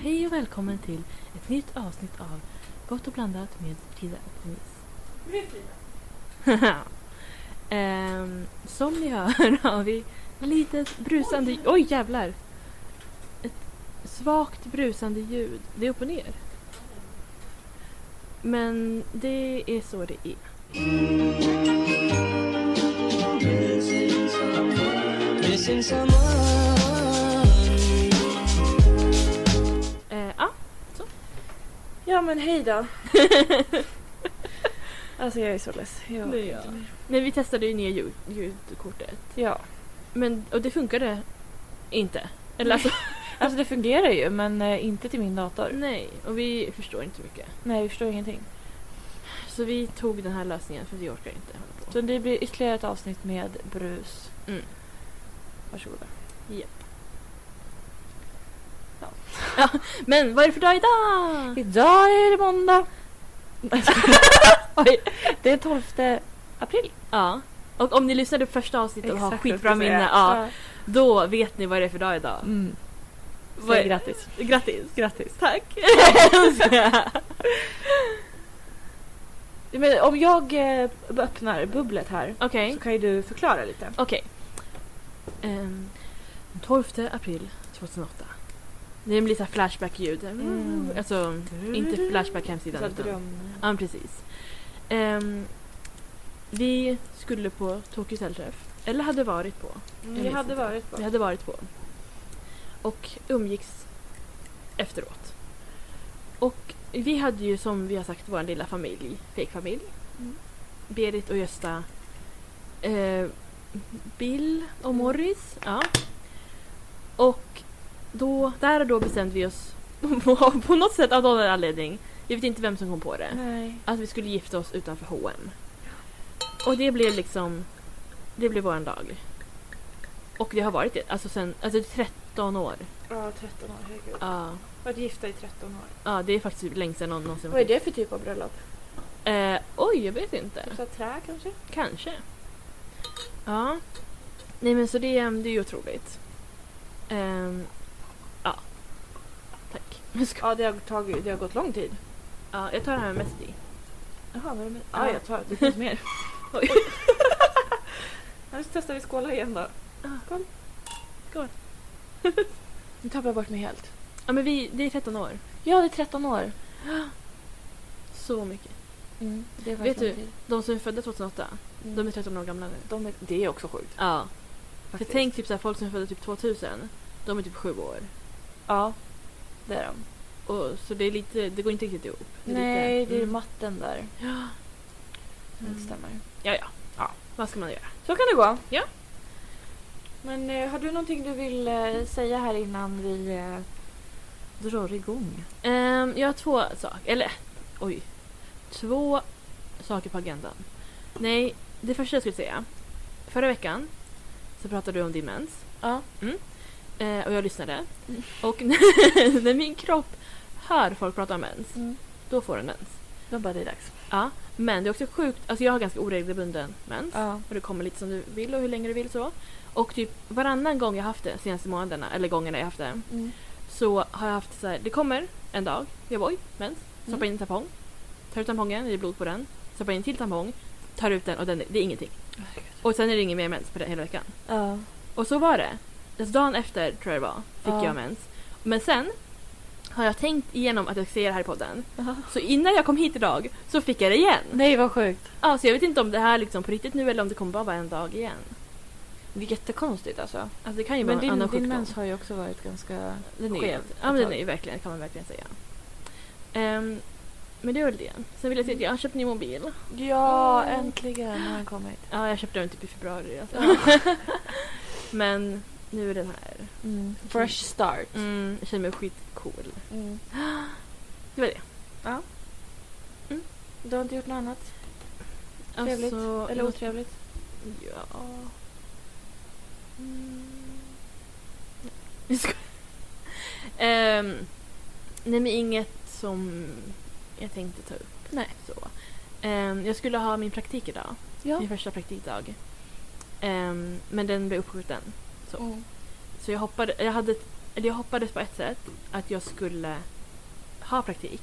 hej och välkommen till ett nytt avsnitt av Gott och blandat med Frida och Denise. Ehm, som ni hör har vi litet brusande... Oj jävlar! Ett svagt brusande ljud. Det är upp och ner. Men det är så det är. Missing someone Eh, ja, Ja men hej då. alltså jag är så less. Jag Det är jag. orkar inte mer. men vi testade ju ner ljud, ljudkortet. Ja. Men, och det funkade inte. Eller alltså, Alltså det fungerar ju men eh, inte till min dator. nej. Och vi förstår inte mycket. Nej jag förstår ingenting. Så vi tog den här lösningen för vi orkar inte hålla på. Så det blir ytterligare ett avsnitt med brus. Mm. Varsågoda. Men vad är det för dag idag? Idag är det måndag. Oj, det är 12 april. Ja. Och om ni lyssnade på första avsnittet och har Exakt vad jag skitbra skulle säga. minne, ja, då vet ni vad det är för dag idag. Mm. Vad är- Säg grattis. Grattis! Grattis. Tack! Men om jag eh, öppnar bubblet här Okej, så kan ju du förklara lite. okej. Ehm, 12 april 2008. Det blir såhär flashback-ljud. Mm. Alltså, inte flashback hemsidan Så utan dröm. Ja, men precis. Ehm, vi skulle på Tokyo Cellträff. Eller hade varit på. Mm, Jag jag vet hade inte. varit på. Vi hade varit på. Och umgicks efteråt. Och vi hade ju som vi har sagt vår lilla familj, fejkfamilj. Mm. Berit och Gösta. Eh, Bill Mm. och Morris. Ja. Och då, där och då bestämde vi oss på, på något sätt av någon anledning. Jag vet inte vem som kom på det Nej. att vi skulle gifta oss utanför H&M. Och det blev liksom, det blev våran dag. Och det har varit det, alltså sen, alltså 13 år. Ja, 13 år. Herregud. Ja, Varit gifta i 13 år. ja, det är faktiskt längst sedan någon någonsin Vad är det för typ av bröllop? Eh, oj, jag vet inte. Så här trä kanske? Kanske. Ja. Nej men så det, eh, det är ju otroligt. Ehm, ja. Tack. Jag skojar. Ja, det har, tagit, det har gått lång tid. Ja, jag tar det här med mest i. Jaha, vad är det med? Ja. Ja, jag tar det. Det finns mer. Oj. Nu testar vi skåla igen då. Skål. Skål. nu tappar jag bort mig helt. Ja men vi, det är 13 år. Ja, det är 13 år. Så mycket. Mm, det är Vet Vet du, du? De som är födda 2008, Mm. de är 13 år gamla nu. De är, det är också sjukt. Ja. För faktiskt. tänk typ såhär, folk som är födda typ 2000, de är typ sju år. Ja, det är de. Och, så det, är lite, det går inte riktigt ihop. Det är Nej, lite, det är mm. matten där. Ja. som inte stämmer. Ja, ja, ja. Vad ska man göra? Så kan det gå. Ja. Men eh, har du någonting du vill eh, säga här innan vi eh, drar igång? Ehm, jag har två saker, eller oj. Två saker på agendan. Nej, det första jag skulle säga. Förra veckan så pratade du om din mens. Ja. Mm. Eh, och jag lyssnade. Och när min kropp hör folk prata om mens, Mm. då får den mens. Då bara det är dags. Ja, men det är också sjukt, alltså jag har ganska oregelbunden mens. Ja. Och det kommer lite som du vill och hur länge du vill så. Och typ varannan gång jag har haft det senaste månaderna, eller gångerna jag haft det, Mm. så har jag haft så här, det kommer en dag, jag bara oj, mens. Stoppar Mm. in en tampong. Tar ut tampongen, det är blod på den. Stoppar in en till tampong, tar ut den och den, det är ingenting. Och sen är det ingen mer mens på det hela veckan. Ja. Och så var det. Alltså dagen efter, tror jag det var, fick Ja. jag mens. Men sen har jag tänkt igenom att jag ska säga det här i podden. Så innan jag kom hit idag så fick jag det igen. Nej, vad sjukt. Ja, så jag vet inte om det här liksom på riktigt nu eller om det kommer bara vara en dag igen. Det är jättekonstigt alltså. Alltså det kan ju Men vara en din, annan din sjukdom. mens har ju också varit ganska... den är ju, skev ja, men ett den tag. är ju verkligen, kan man verkligen säga. Ehm, men det var väl det. Sen vill jag säga att jag har köpt ny mobil. Ja, Mm. äntligen har den kommit. Ja, jag köpte den typ i februari. Alltså. men nu är den här. Mm. Fresh start. Mm, jag känner mig skitcool. Mm. Det var det. Du har inte gjort något annat? Trevligt? Alltså, Eller jag- otrevligt? Ja. Mm. Jag skojar. Ehm, nej men inget som jag tänkte ta upp. Nej. Så. Ehm, jag skulle ha min praktik idag. Ja. Min första praktikdag. Mm. Ehm, men den blev uppskjuten. Så jag hoppade, jag hade ett Eller jag hoppades på ett sätt att jag skulle ha praktik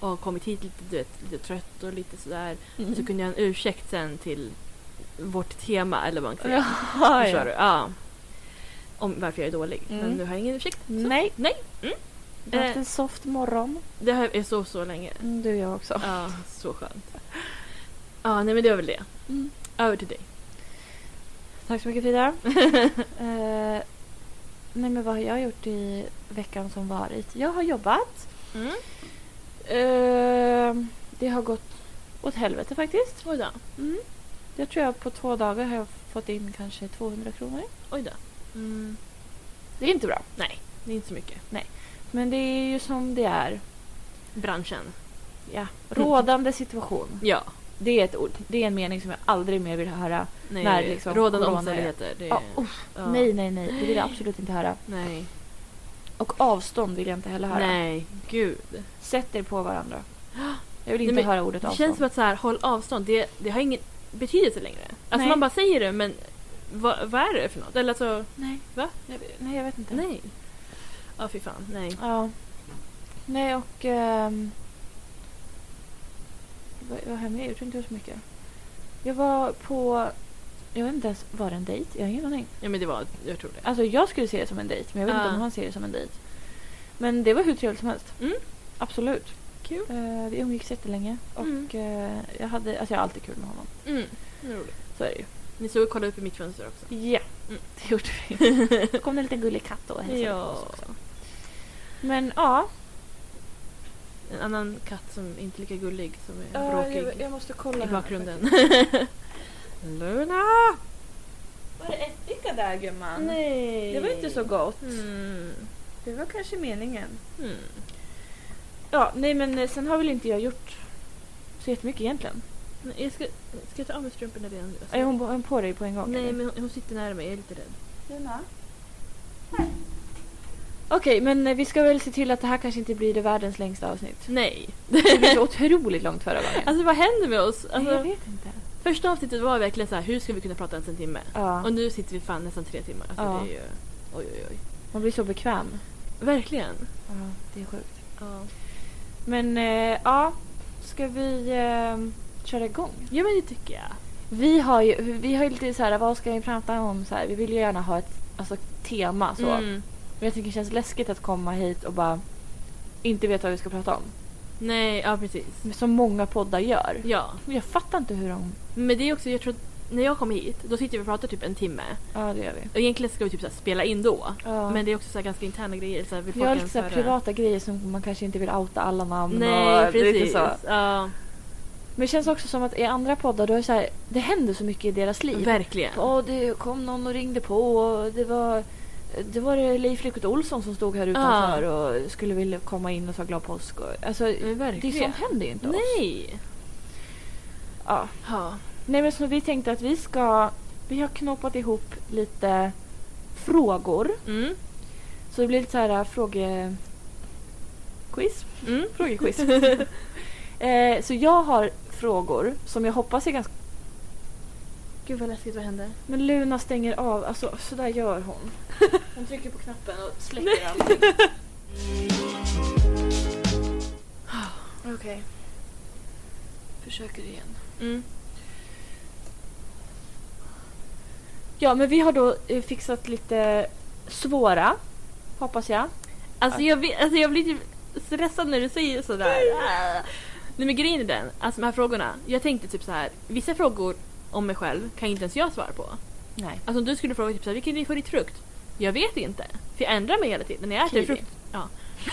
och ha kommit hit lite, du vet, lite trött och lite sådär. Så Mm. kunde jag ha en ursäkt sen till vårt tema eller vad man kan säga. Jaha, Förstår ja. du? Ja. Om varför jag är dålig. Mm. Men nu har jag ingen ursäkt. Så. Nej. Nej. Mm. Du har haft Eh. en soft morgon. Det här är så, så länge. Mm, Du och jag också. Ja, så skönt. Ja, nej men det var väl det. Mm. Över till dig. Tack så mycket Frida. eh, nej men vad har jag gjort i veckan som varit? Jag har jobbat. Mm. Eh, det har gått åt helvete faktiskt. Oj då. Mm. Jag tror jag på två dagar har jag fått in kanske 200 kronor. Oj då. Mm. Det är inte bra. Nej, det är inte så mycket. Men det är ju som det är. Branschen. Ja. Rådande situation. Ja. Det är ett ord. Det är en mening som jag aldrig mer vill höra. Nej, När liksom rådande corona är- omständigheter. Det, Ja, usch, ja. Nej, nej, nej. Det vill jag absolut inte höra. Nej. Och avstånd vill jag inte heller höra. Nej, gud. Sätt er på varandra. Jag vill inte Nej, men höra ordet Det avstånd. känns som att så här, håll avstånd, det, det har ingen betydelse längre. Alltså Nej. man bara säger det men vad, vad är det för något? Eller alltså, Nej. Va? Nej, nej, jag vet inte. nej. Ja fy fan, nej. Ja. Nej, och... ehm, vad, vad har jag mer gjort? Inte gjort så mycket. Jag var på... Jag vet inte ens, var det en dejt? Jag har ingen aning. Ja men det var, jag tror det. Alltså jag skulle se det som en dejt, men jag vet Ja. inte om han ser det som en dejt. Men det var hur trevligt som helst. Ah. Mm. Absolut. Kul. Eh, vi umgicks jättelänge och eh, jag hade... Alltså jag har alltid kul med honom. Mm, det var roligt. Så är det ju. Ni såg och kollade upp i mitt fönster också. Ja, Mm. det gjorde vi. Så kom det en liten gullig katt då och hälsade på oss Ja. också. Men ja, En annan katt som inte är lika gullig som är Ja, bråkig Jag, jag måste kolla i här bakgrunden. faktiskt. Luna! Var det ättika där gumman? Nej! Det var inte så gott. Mm. Det var kanske meningen. Mm. Ja, nej men eh, sen har väl inte jag gjort så jättemycket egentligen. Nej, Jag ska, ska jag ta av mig strumporna redan nu? Är hon, hon på dig på en gång? Nej, eller? men hon, hon sitter nära mig. Jag är lite rädd. Okej, men eh, vi ska väl se till att det här kanske inte blir det världens längsta avsnitt. Nej. Det blev så otroligt långt förra gången. Alltså vad händer med oss? Nej, jag Alltså, vet inte. första avsnittet var verkligen så här, hur ska vi kunna prata ens en timme? Ja, Och nu sitter vi fan nästan tre timmar. Alltså, Ja. det är ju, oj, oj, oj. man blir så bekväm. Verkligen. Ja, det är sjukt. Ja, Men eh, ja, ska vi eh, köra igång? men det tycker jag. Vi har ju, vi har ju lite så här, vad ska vi prata om? Så här, vi vill ju gärna ha ett alltså, tema så. Mm. Men jag tycker det känns läskigt att komma hit och bara inte veta vad vi ska prata om. Nej, ja precis. Som många poddar gör. Ja, Men Jag fattar inte hur de... men det är också, jag tror att när jag kommer hit, då sitter vi och pratar typ en timme. Ja, det gör vi. Och egentligen ska vi typ så här spela in då. Ja. Men det är också så här ganska interna grejer. Så här, vill vi folk har lite ens så här höra? privata grejer som man kanske inte vill outa alla namn Nej, och det är lite precis. så. Ja, Men det känns också som att i andra poddar då är det så här, det händer så mycket i deras liv. verkligen. Ja, det kom någon och ringde på och det var det var det Leif Lyckert Olsson som stod här utanför och skulle vilja komma in och ta glad påsk. Och, alltså, Men det är verkligen. sånt händer ju inte oss. Nej! Ja. Ja. Nej men så vi tänkte att vi ska, vi har knoppat ihop lite frågor. Mm. Så det blir lite så här äh, fråge... Quiz? Mm. Frågequiz. eh, så jag har frågor som jag hoppas är ganska... Gud vad läskigt, vad händer? Men Luna stänger av, alltså sådär gör hon. Hon trycker på knappen och släcker allt. Okej. Försöker igen. Mm. Ja men vi har då eh, fixat lite svåra, hoppas jag. Alltså, jag, vet- alltså jag blir typ stressad när du säger sådär. Ah. Nej men grejen är den, alltså de här frågorna. Jag tänkte typ så här. vissa frågor om mig själv kan inte ens jag svara på. Nej. Alltså om du skulle fråga typ så här, vilken är din favoritfrukt? Jag vet inte, för jag ändrar mig hela tiden när jag äter Kiwi. frukt. Ja.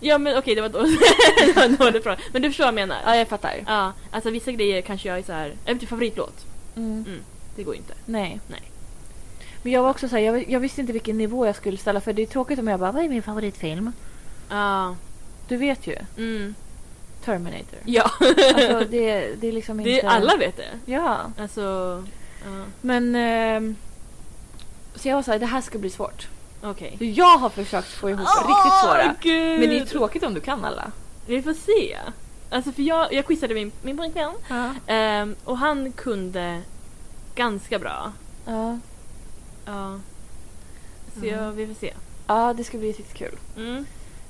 ja men okej det var då det var en dålig fråga. Men du förstår vad jag menar? Ja jag fattar. Ja, alltså vissa grejer kanske jag är så här. Äh, typ favoritlåt. Mm. Det går inte. Nej. Nej. Men jag var också såhär, jag, jag visste inte vilken nivå jag skulle ställa för det är tråkigt om jag bara vad är min favoritfilm? Ja. Du vet ju, Mm. Terminator. Ja. Alltså det, det är liksom inte... det, alla vet det. Ja. Alltså... Ja. Men... ehm, så jag var såhär, det här ska bli svårt. Okej. Så jag har försökt få ihop riktigt svåra. Gud. Men det är tråkigt om du kan alla. Vi får se. Alltså för jag, jag quizade min, min pojkvän Ja. ehm, och han kunde ganska bra. ja. Ja. Så jag, vi får se. Ja, det ska bli riktigt kul. Mm.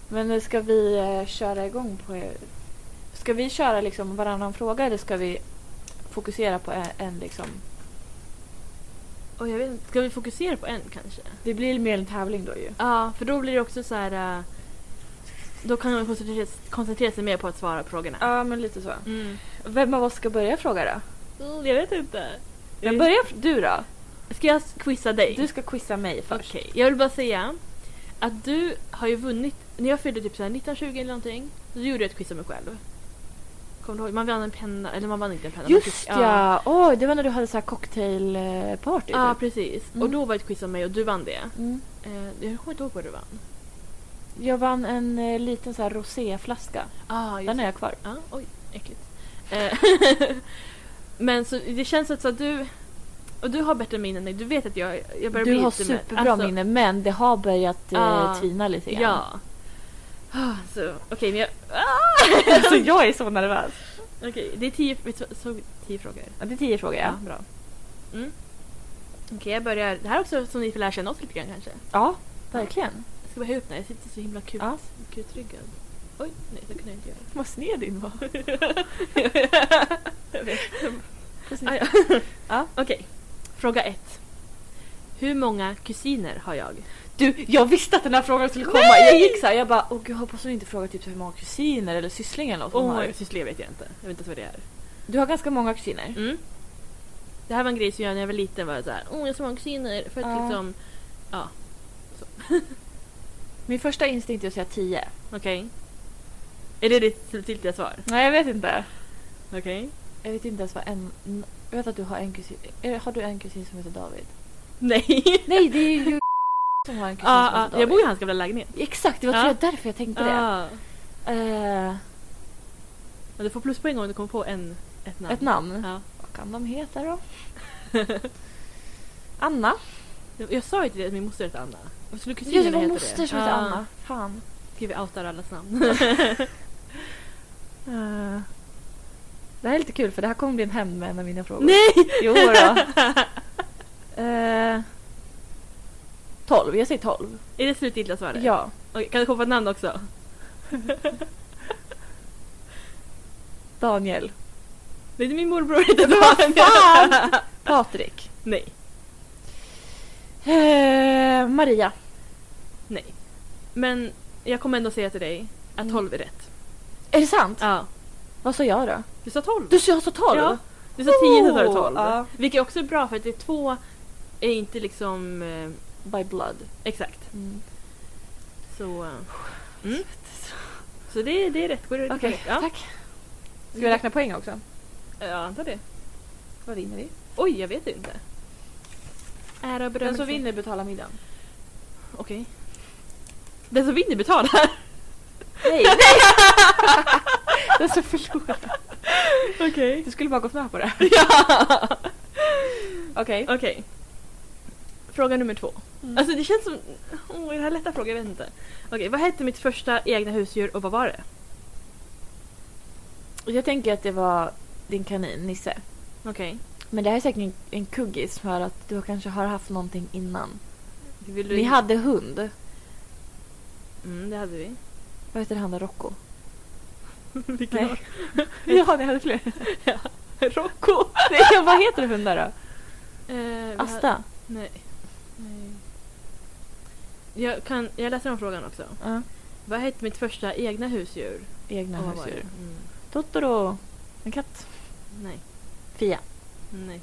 Men nu ska vi eh, köra igång på... eh, Ska vi köra liksom varannan fråga eller ska vi fokusera på en, en liksom... Och jag vet inte, ska vi fokusera på en kanske? Det blir mer en tävling då ju. Ja, för då blir det också så här... eh, Då kan man koncentrera, koncentrera sig mer på att svara på frågorna. Ja, men lite så. Mm. Vem av oss ska börja fråga då? Mm, Jag vet inte. Men börja f- du då. Ska jag quizza Mm. dig? Du ska quizza mig först. Okej, jag vill bara säga att du har ju vunnit, när jag fyllde typ så här 1920 eller någonting, så gjorde jag ett quiz om mig själv. Kommer du ihåg? Man vann en penna, eller man vann inte en penna. man Just fick- ja! Åh, det var när du hade så här cocktailparty. Ja, typ. precis. Mm. Och då var det ett quiz om mig och du vann det. mm. Eh, jag kommer inte ihåg vad du vann. Jag vann en eh, liten så här roséflaska. Ah, just Den har jag kvar. Ja, oj, äckligt. Eh, Men så det känns att så att du, och du har bättre minne än mig, du vet att jag, jag börjar Du bli har lite mer- superbra alltså, minne men det har börjat eh, Ja. tvina lite grann. Ja. Ah, Så, okej, men jag, alltså, jag är så nervös. okej, det är tio, vet du vad, såg tio frågor. Ja, det är tio frågor ja. Ja, bra. Mm. Okej, jag börjar. Det här är också som ni får lära känna oss lite grann kanske. Ja, verkligen. Jag ska bara höja upp den här, jag sitter så himla kut, Ja. kutryggad. Oj, nej det kunde jag inte göra. Vad sned din var. Precis. Ah, ja. Ja. Okej, fråga ett. Hur många kusiner har jag? Du, jag visste att den här frågan skulle komma. Nej! Jag gick så här, jag bara, åh gud, jag hoppas hon inte frågar typ hur många kusiner eller sysslingar eller något hon har. sysslar vet jag inte. Jag vet inte vad det är. Du har ganska många kusiner. Mm. Det här var en grej som jag när jag var liten var såhär, åh jag har så många kusiner. För att Ja. liksom, Min första instinkt är att säga tio. okej. Är det ditt slutgiltiga svar? Nej, jag vet inte. Okej. Jag vet inte ens vad en... n- Jag vet att du har en kusin. eh, Har du en kusin som heter David? Nej. Nej, det är ju som har en kusin Ah, som heter ah, David. jag bor ju i hans gamla lägenhet. Exakt, det var Ja. ja. därför jag tänkte det. Ah. Eh, Men du får pluspoäng om du kommer på en, ett namn. ett namn. Ja. Vad kan de heta då? Anna. Jag sa ju till dig att min moster heter Anna. Och Skulle Ja, kusinen det var heta moster som heter Ja. Anna. Fan. Okej, Ah. vi outar allas namn. Eh, det här är lite kul för det här kommer bli en hämnd med en av mina frågor. Nej! Jo då. Eh, 12, jag säger 12. Är det slutgiltiga svaret? Ja. Okej, kan du komma på ett namn också? Daniel. Nej, det är min morbror heter Vad Daniel. Patrik. Nej, Eh, Maria. nej. Men jag kommer ändå säga till dig att Mm. 12 är rätt. Är det sant? Ja. Vad sa jag då? Du sa 12. Du sa jag sa 12? Ja. Du sa 10 så sa du Oh, 12. ja. Vilket också är bra för att det är två är inte liksom eh, By blood. exakt. Mm. Så... eh, Mm. Så det, det är rätt. Går det det är Okej, rätt? ja. tack. Ska vi räkna poäng också? Ja, Jag antar det. Vad vinner vi? Oj, jag vet inte. Ära och Den berömmelse. som vinner betalar middagen. Okej. Den som vinner betalar. Nej! Den som förlorar. Okej. Du skulle bara gått med på det. ja! Okej. Okej. Fråga nummer två. Mm. Alltså det känns som... Oh, är det här lätta frågor? Jag vet inte. Okej, vad hette mitt första egna husdjur och vad var det? Jag tänker att det var din kanin, Nisse. Okej. Men det här är säkert en, en kuggis för att du kanske har haft någonting innan. Vill Ni hade hund. Mm, det hade vi. Vad heter han då? Rocco? Vilken var ja, ni hade fler. Rocco! Nej, vad heter hundar då? Eh, vi hade- Asta? Nej. Nej. Jag, kan, jag läser om frågan också. Ja. Vad hette mitt första egna husdjur? Egna och vad var husdjur. det? Mm. Totoro. En katt. Nej. Fia. Nej.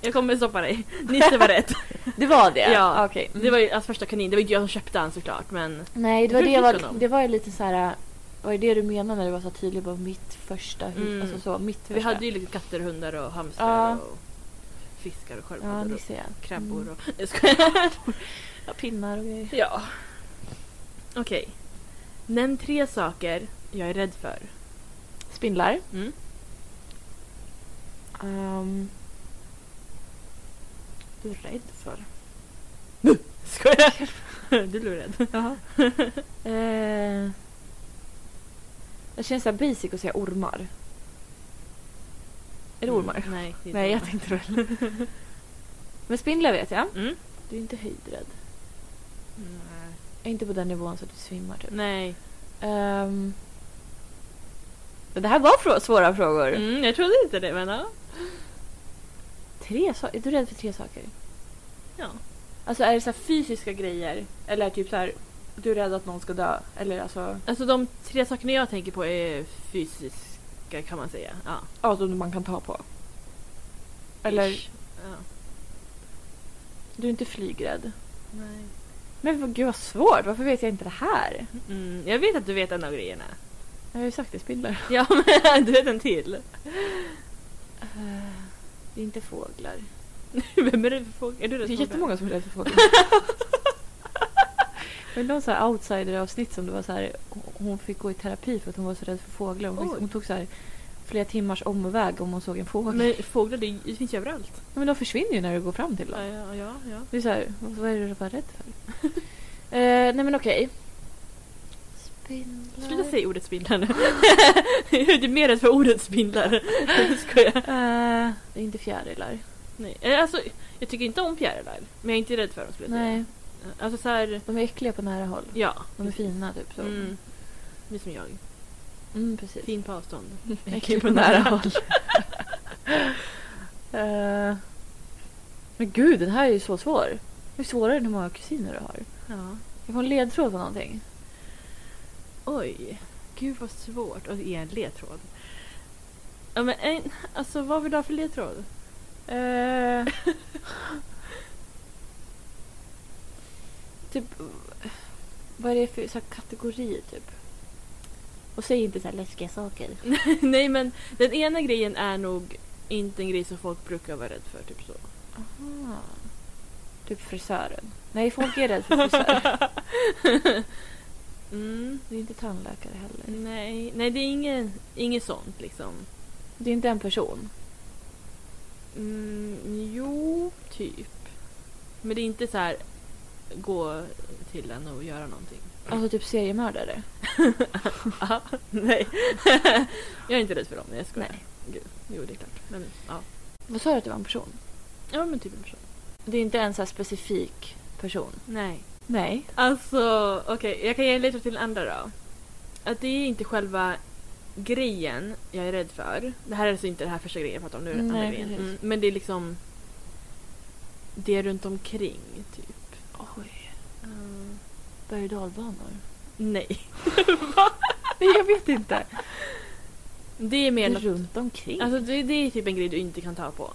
Jag kommer stoppa dig. Nisse var rätt. Det var det? Ja. Okej. Mm. Det var ju hans första kanin. Det var inte jag som köpte han såklart men... Nej, det var Hur det, jag fick du var, dem? det var ju lite så här. Var det det du menade när du var så tydlig på mitt första hus? Mm. Alltså så, mitt första. Vi hade ju lite katter, hundar och hamstrar Ja. och fiskar och Ja, Mm. sköldpaddor ni och ser. krabbor och... Jag skojar. Ja, pinnar och grejer. Ja. Okej. Nämn tre saker jag är rädd för. Spindlar. Mm. Ehm, du är rädd för? Skojar! Du blev rädd. Jaha. uh, det känns så här basic att säga ormar. Är det ormar? Mm, nej, det är inte Nej, jag ormar. tänkte väl. Men spindlar vet jag. Mm. Du är inte höjdrädd. Nej. Inte på den nivån så att du svimmar typ. Nej. Ehm, det här var frå- svåra frågor. Mm, jag trodde inte det, men ja. Tre so- är du rädd för tre saker? Ja. Alltså är det så här fysiska grejer? Eller typ så här, du är rädd att någon ska dö? Eller alltså, Alltså de tre sakerna jag tänker på är fysiska kan man säga. Ja. ja, som man kan ta på? Eller, Ish. Ja. du är inte flygrädd? Nej. Men vad- gud vad svårt, varför vet jag inte det här? Mm, jag vet att du vet en av grejerna. Jag har ju sagt det, spindlar. Ja, men du vet en till. Eh, Det är inte fåglar. Vem är det för fråga? Är du Det är rädd jättemånga som är rädda för fåglar. Men någon så här outsider-avsnitt som det var så här, hon- hon fick gå i terapi för att hon var så rädd för fåglar. Hon, Oj. fick, hon tog så här flera timmars omväg om hon såg en fågel. Men, Men fåglar det, det finns ju överallt. men de försvinner ju när du går fram till dem. Ja, ja, ja. ja. Det är så här, vad är du att vara rädd för? eh, nej men okej. Spindlar. Sluta säga ordet spindlar nu. du är mer rädd för ordet spindlar. Jag skojar. Eh, det är inte fjärilar. Nej. eh, Alltså, jag tycker inte om fjärilar. Men jag är inte rädd för dem skulle jag Nej, säga. Alltså så här, de är äckliga på nära håll. ja. De är fina typ. Så. Mm. Det är som jag. Mm, precis. Fin på avstånd. Äcklig på nära håll. Eh, men gud, den här är ju så svår. Det är svårare än hur många kusiner du har. Ja. Jag får en ledtråd på någonting. Oj. Gud vad svårt. Och det är en ledtråd. Ja, men en, alltså vad vill du ha för ledtråd? Eh, typ, vad är det för så här, kategori typ? Och säg inte så här läskiga saker. Nej men den ena grejen är nog inte en grej som folk brukar vara rädd för. Typ så. Aha. "Ah." Typ frisören. Nej, folk är rädda för frisörer. Mm, Det är inte tandläkare heller. nej, nej det är ingen, inget sånt liksom. Det är inte en person. Mm, jo, typ. Men det är inte så här gå till en och göra någonting. Alltså typ seriemördare. Aha, nej. jag är inte rädd för dem, jag skojar. Nej. Gud, jo det är klart. Men, ja. Vad sa du att det var en person? ja men typ en person. Det är inte en så här specifik person. Nej. Nej. Alltså, okej, jag kan ge en ledtråd till den andra då. Att det är inte själva grejen jag är rädd för. Det här är alltså inte den här första grejen jag pratar om, nu är det den andra Nej, grejen. precis. Mm, men det är liksom det runt omkring, typ. Mm. Oj. Berg och dalbanor. Nej. Nej, jag vet inte. Det är Det mer är något, runt omkring. alltså det, det är typ en grej du inte kan ta på.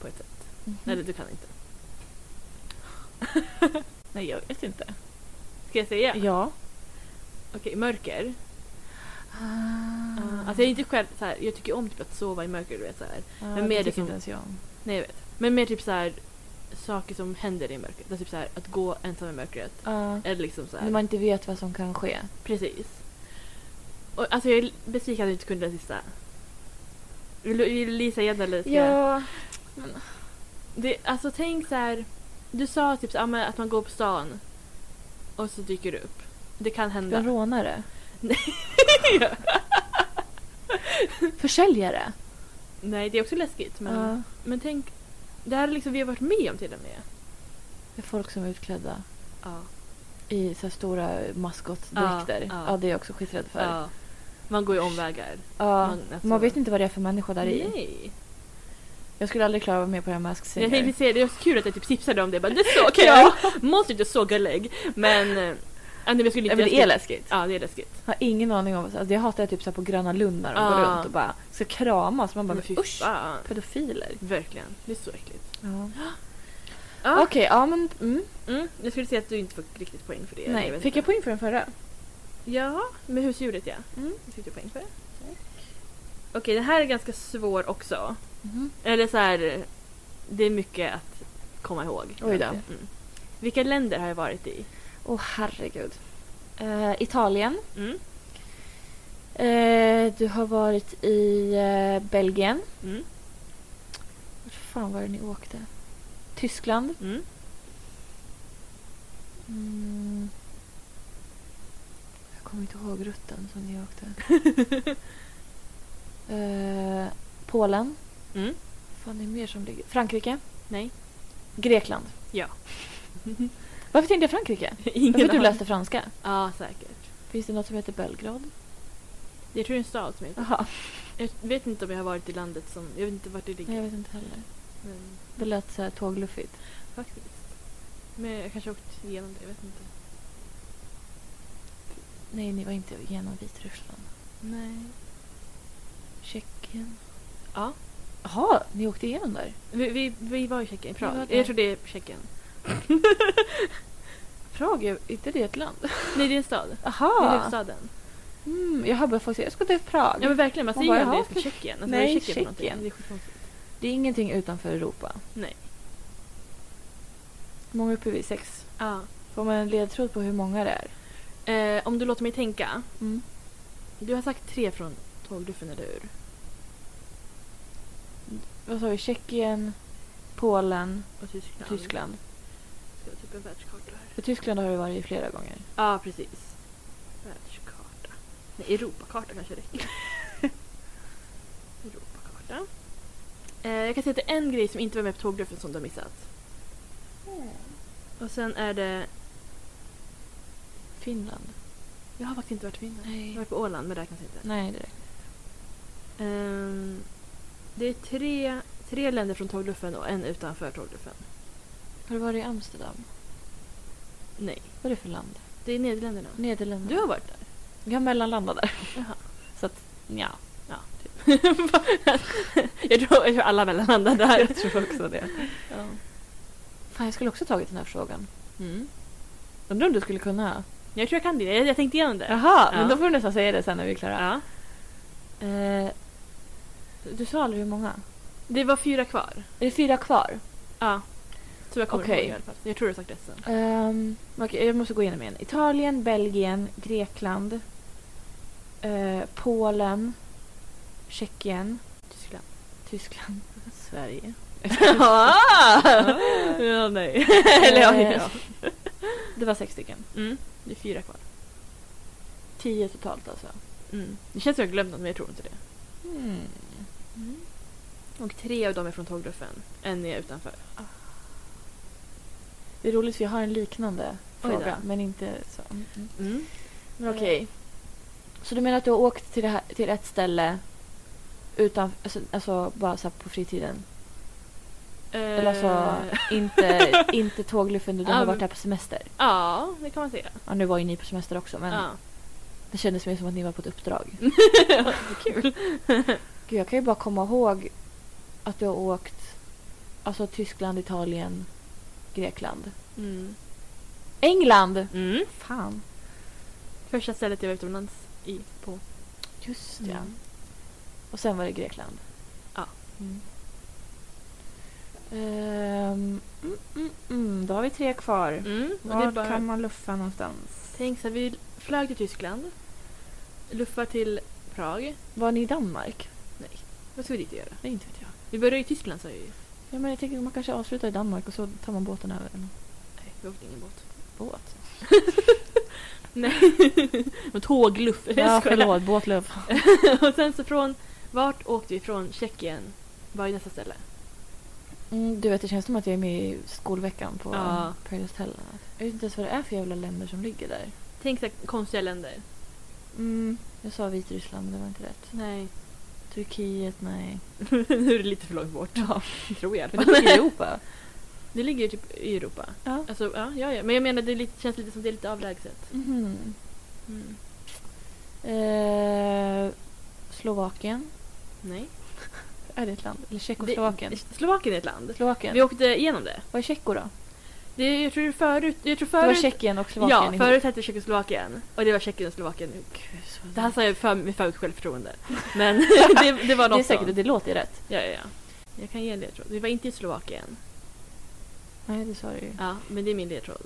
På ett sätt. Mhm. Eller du kan inte. Nej, jag vet inte. Ska jag säga? Ja. Okej, mörker. Ah. Alltså jag är inte själv så här, jag tycker om typ att sova i mörker, du vet så här. Ja, men mer det det tycker som- inte ens jag om. Nej jag vet. Men mer typ så här saker som händer i mörkret. Alltså typ så här, att gå ensam i mörkret. Ja. Eller liksom så här. När man inte vet vad som kan ske. Precis. Och, alltså jag är besviken att du inte kunde den sista. Vill, du- vill Lisa igen eller? ska jag- Det, alltså tänk så här. Du sa typ så, här, ah, men att man går på stan och så dyker det upp. Det kan Du är en hända. rånare. Nej. Försäljare. Nej, det är också läskigt. Men, Ja. men tänk, det här är liksom vi har varit med om till och med. Det är folk som är utklädda Ja. i så här stora maskotdräkter. Ja, ja. Ja, det är jag också skiträdd för. ja. Man går ju omvägar. Ja. Man- alltså- Man vet inte vad det är för människa där i. Nej. Jag skulle aldrig klara att vara med på det här Masked Singer. Jag tänkte säga det, det var så kul att jag typ tipsade om det. Jag Bara, det är så kul! Ja. Monstret är så gullig. Men... äh, nej, men jag skulle inte... Nej, men det är jag skulle- läskigt. Ja, det är läskigt. Jag har ingen aning om. Alltså, jag hatar typ så här på Gröna Lund när de går Ja. runt och bara ska kramas. Man bara Men fy men, Mm, usch! fan. Pedofiler. Verkligen. Det är så äckligt. Ja. Ja. Okej, ja men... Mm, Mm, jag skulle säga att du inte fick riktigt poäng för det. nej. vet Fick inte. jag poäng för den förra? Ja, med husdjuret ja. Mm. Det fick du poäng för. Okej, den här är ganska svår också. Mhm. Eller så här, det är mycket att komma ihåg. Oj då. Mm. Vilka länder har jag varit i? Åh herregud. Eh, Italien. Mm. Eh, du har varit i eh, Belgien. Mm. Vart fan var det ni åkte? Tyskland. Mm. Mm. Jag kommer inte ihåg rutten som ni åkte. eh, Polen. Mm. Vad fan är det mer som ligger? Frankrike. Nej. Grekland. Ja. Varför tänkte jag Frankrike? Ingen Varför du aning. läste franska? Ja, säkert. Finns det något som heter Belgrad? Jag tror det är en stad som heter... Jaha, Jag vet inte om jag har varit i landet som... Jag vet inte vart det nej jag ligger. vet inte heller. Men Det lät så här tågluffigt. faktiskt. Men jag kanske har åkt igenom det, jag vet inte. Nej, ni var inte genom Vitryssland. Nej. Tjeckien. Ja. Jaha, ni åkte igenom där? Vi, vi, vi var i Tjeckien, i Vi var Prag. där. Jag tror det är Tjeckien. Prag, är inte det ett land? Nej, det är en stad. Det är Aha! huvudstaden. Mm, jag har bara faktiskt, jag ska till Prag. Ja men verkligen, man Man säger ju bara, aldrig jaha, för Tjeckien. Alltså, nej, vad är Tjeckien. för någonting? Tjeckien. Det är skitkonstigt. Det är ingenting utanför Europa. Nej. Många uppe vid sex. Ja. Får man en ledtråd på hur många det är? Eh, om du låter mig tänka. Mm. Du har sagt tre från tågluffen, eller hur? Vad sa vi? Tjeckien, Polen, Och Tyskland. Tyskland. Ska jag ha typ en världskarta här? För Tyskland har du varit flera gånger. Ja, precis. Världskarta. Nej, Europakarta kanske räcker. Europakarta. Eh, jag kan säga att det är en grej som inte var med på tågluffen som du har missat. Mm. Och sen är det... Finland? Jag har faktiskt inte varit i Finland. Jag har Nej. varit på Åland, men det räknas inte. Nej, det räcker. Ehm, det är tre, tre länder från tågluffen och en utanför tågluffen. Har du varit i Amsterdam? Nej, Vad är det för land? det är Nederländerna. Nederländerna? Du har varit där? Jag har mellanlandat där. Jaha. Så att, ja. Ja, typ. jag, tror, jag tror alla mellanlandar där. Jag tror också det. Ja. Fan, jag skulle också tagit den här frågan. Mm. Undrar om du skulle kunna? Jag tror jag kan det. Jag, jag tänkte igenom det. Jaha, Ja. men då får du nästan säga det sen när vi är klara. Ja. Eh, du sa aldrig hur många? Det var fyra kvar. Är det fyra kvar? Ja. Så jag kommer Okej. ihåg i alla fall. Jag tror du har sagt resten. Ehm, okej, jag måste gå igenom igen. Italien, Belgien, Grekland, eh, Polen, Tjeckien, Tyskland. Tyskland, Sverige. Ah! ja, nej. Eller ja, Eh, ja. Det var sex stycken. Mm. Det är fyra kvar. Tio totalt alltså. Mm. Det känns som jag har glömt något, men jag tror inte det. Hmm. Och tre av dem är från tågluffen. En är utanför. Det är roligt för jag har en liknande Oj då. fråga, men inte så. Mm, mm. Mm. Men okej. Så du menar att du har åkt till, det här, till ett ställe utan, alltså, alltså bara så här på fritiden? Eller alltså Eh, inte, inte tågluffen, du Ja, har men- varit här på semester? Ja, det kan man säga. Ja, nu var ju ni på semester också men Ja. det kändes mer som att ni var på ett uppdrag. Kul. Gud, jag kan ju bara komma ihåg att du har åkt alltså Tyskland, Italien, Grekland. Mm. England! Mm. Fan. Första stället jag var utomlands i, på. Just Mm. ja. Och sen var det Grekland. Ja. Mm. Ehm, mm, mm, mm, då har vi tre kvar. Mm. Och det är Var bara... kan man luffa någonstans? Tänk så här, vi flög till Tyskland. Luffar till Prag. Var ni i Danmark? Vad ska vi dit och göra? Nej, inte vet jag. Vi började i Tyskland sa jag ju. Ja, men jag tänker att man kanske avslutar i Danmark och så tar man båten över en Nej, vi åkte ingen båt. båt. Nej. Men tågluff. Ja, Jag skojar. förlåt. Båtluff. och sen så från... Vart åkte vi från? Tjeckien. Var ju nästa ställe. Mm, du vet, det känns som att jag är med i skolveckan på Ja. Paradise Hotel. Jag vet inte ens vad det är för jävla länder som ligger där. Tänk så här, konstiga länder. Mm, jag sa Vitryssland, men det var inte rätt. Nej. Turkiet, nej. nu är det lite för långt bort. Ja. Tror jag i alla Men det fall. ligger i Europa. Det ligger ju typ i Europa. Ja. Alltså, ja, ja, ja. Men jag menar, det är lite, känns lite som det är lite avlägset. Mhm. Mm. Eh, Slovakien. Nej. Är det ett land? Eller Det- Tjeckoslovakien? Slovakien är ett land. Slovakien. Vi åkte igenom det. Vad är Tjecko då? det jag tror förut... Jag tror Det var förut Tjeckien och Slovakien ja, förut hette det Tjeckoslovakien. Och det var Tjeckien och Slovakien nu. Gud, så Det här sa jag för, med för högt självförtroende. Men det, det var det är något säkert sånt. det låter ju rätt. Ja, ja, ja. Jag kan ge en ledtråd. Vi var inte i Slovakien. Nej, det sa du ju. Ja, men det är min ledtråd.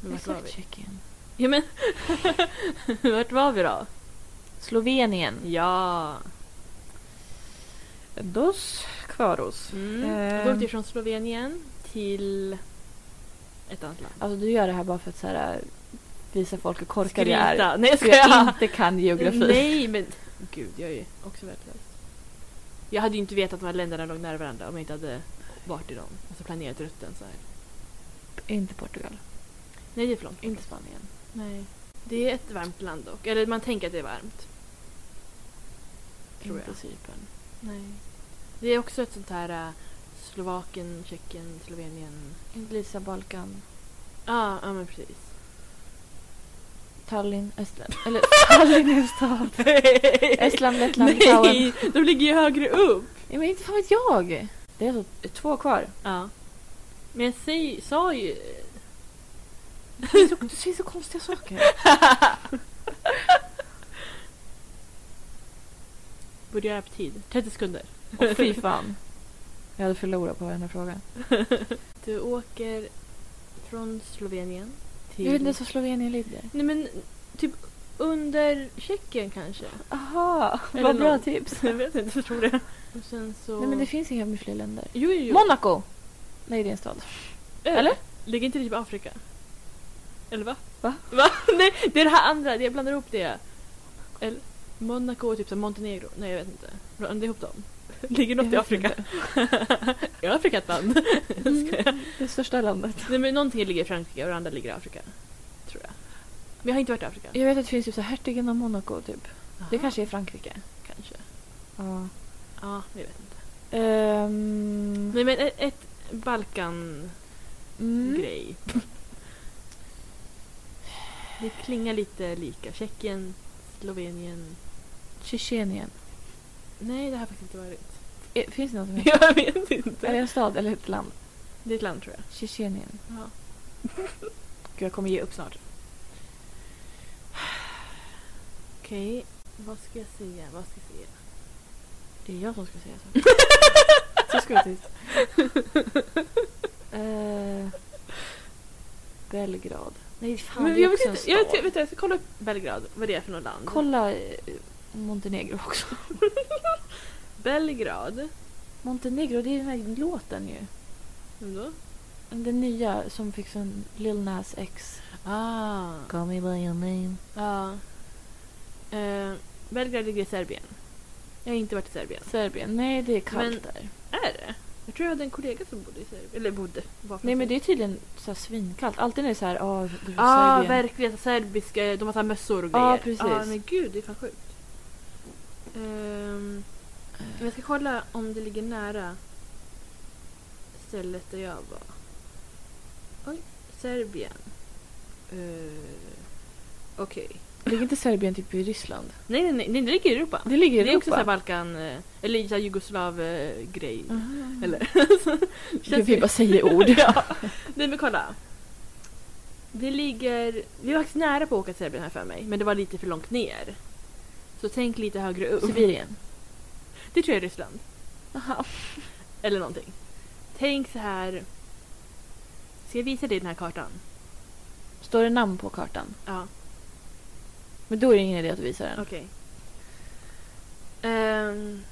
Men Jag vart sa var vi? Tjeckien. Ja, men... vart var vi då? Slovenien. Ja. Dos kvaros. Mm. Vi Ehm. åkte från Slovenien till ett annat land. Alltså du gör det här bara för att så här, äh, visa folk hur korkad jag är. Skryta. Nej, jag För jag skojar. inte kan geografi. Nej, men gud, jag är ju också värdelös. Jag hade ju inte vetat att de här länderna låg nära varandra om jag inte hade vart i dem. Alltså planerat rutten så här. Inte Portugal. Nej, det är för långt. Inte Spanien. Nej. Det är ett varmt land dock. Eller man tänker att det är varmt. Tror inte jag. Cypern. Nej. Det är också ett sånt här eh, Slovakien, Tjeckien, Slovenien. Inte Lisa Balkan. Ja, ja men precis. Tallinn, Estland. Eller Tallinn är en stad. Estland, Lettland, Litauen. Nej, de ligger ju högre upp. Nej, men inte fan vet jag. Det är alltså två kvar. Ja. Men jag säg, sa ju... Du säger så- du säger så konstiga saker. Borde jag ha tid? 30 sekunder. Och fy fan. Jag hade förlorat på varenda fråga. Du åker från Slovenien Jag till... vet inte ens var Slovenien ligger. Nej men typ under Tjeckien kanske? Aha, Eller vad bra någon. tips. jag vet inte, jag tror det. Och sen så... Nej men det finns inga med fler länder. Jo, jo, jo. Monaco! Nej det är en stad. Ö. eller? Ligger inte det typ i Afrika? Eller va? Va? Va? Nej, det är det här andra. det- Jag blandar ihop det. Eller Monaco och typ så här Montenegro. Nej, jag vet inte. Blanda ihop dem. Ligger något Jag i vet Afrika? är Afrika ett land? Det största landet. Nej, men någonting ligger i Frankrike och det andra ligger i Afrika. Tror jag. Men jag har inte varit i Afrika. Jag vet att det finns typ så här hertigen av Monaco typ. Det kanske är Frankrike. Kanske. Ja. Ja, jag vet inte. Ehm, Nej, men ett, ett Balkan-grej. mm. Det klingar lite lika. Tjeckien, Slovenien. Tjetjenien. Nej, det har faktiskt inte varit. E- Finns det något som heter? Jag vet Är det inte. en stad eller ett land? Det är ett land tror jag. Tjetjenien. Ja. Gud, jag kommer ge upp snart. Okej, vad ska jag säga? Vad ska jag säga? Det är jag som ska säga så. så ska vi tyst. Eh, Belgrad. Nej fan, Men det är jag, vet också en inte, jag, vet, stad. jag, vet, jag ska kolla upp Belgrad, vad det är för något land. Kolla eh, Montenegro också. Belgrad. Montenegro, det är den här låten ju. Vem då? Den nya som fick sån Lil Nas X. Ah. Call me by your name. Ja. Eh, Belgrad ligger i Serbien. Jag har inte varit i Serbien. Serbien. Nej, det är kallt Men- där. Är det? Jag tror jag hade en kollega som bodde i Serbien. Eller bodde. Var från Nej, men det Serbien. är tydligen så här svinkallt. Alltid när det är så här, ja, oh, Serbien. Ja, ah, verkligen. Serbiska, de har så här mössor och grejer. Ja, precis. Ja, men gud, det är fan sjukt. Ehm, men jag ska kolla om det ligger nära stället där jag var. Oj, Serbien. Eh, Okej. Ligger inte Serbien typ i Ryssland? Nej, nej, nej, nej, det ligger i Europa. Det ligger i Det är också så här Europa. Mm. Balkan, eh, eller så här eh, Jugoslav-grej. Aha. Eller? Gud, vi bara säger ord. ja. Nej men kolla. Det ligger... Vi var faktiskt nära på att åka till Serbien här för mig, men det var lite för långt ner. Så tänk lite högre upp. Sibirien. Det tror jag är Ryssland. Aha. Eller någonting. Tänk så här... Ska jag visa dig den här kartan? Står det namn på kartan? Ja, Men då är det ingen idé att visa den. okej. Ehm,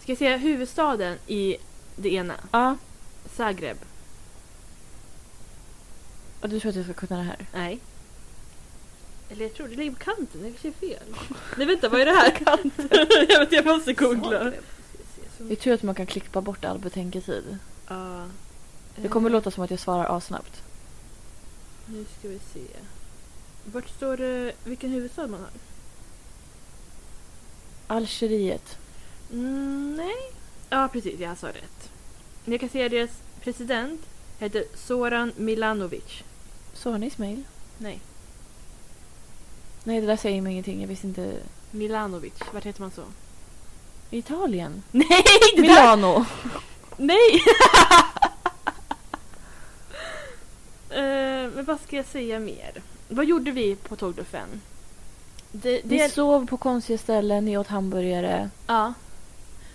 ska jag säga huvudstaden i det ena? Ja. Zagreb. Och du tror att jag ska kunna det här? Nej. Eller jag tror det ligger på kanten, det kanske är fel. Nej vänta, vad är det här? kanten? jag vet, jag måste googla. Det är tur att man kan klippa bort all betänketid. Ja. Eh, Det kommer låta som att jag svarar asnabbt. Nu ska vi se. Vart står det vilken huvudstad man har? Algeriet. Mm, nej. Ja precis, jag sa rätt. Jag kan säga deras president heter Zoran Milanovic. Soran Ismail? Nej, Nej, det där säger mig ingenting. Jag visste inte. Milanovic. Vart heter man så? Italien? Nej! Det där! Milano! Nej! Eh, men vad ska jag säga mer? Vad gjorde vi på tågluffen? Det, Ni det, sov på konstiga ställen, ni åt hamburgare, ja.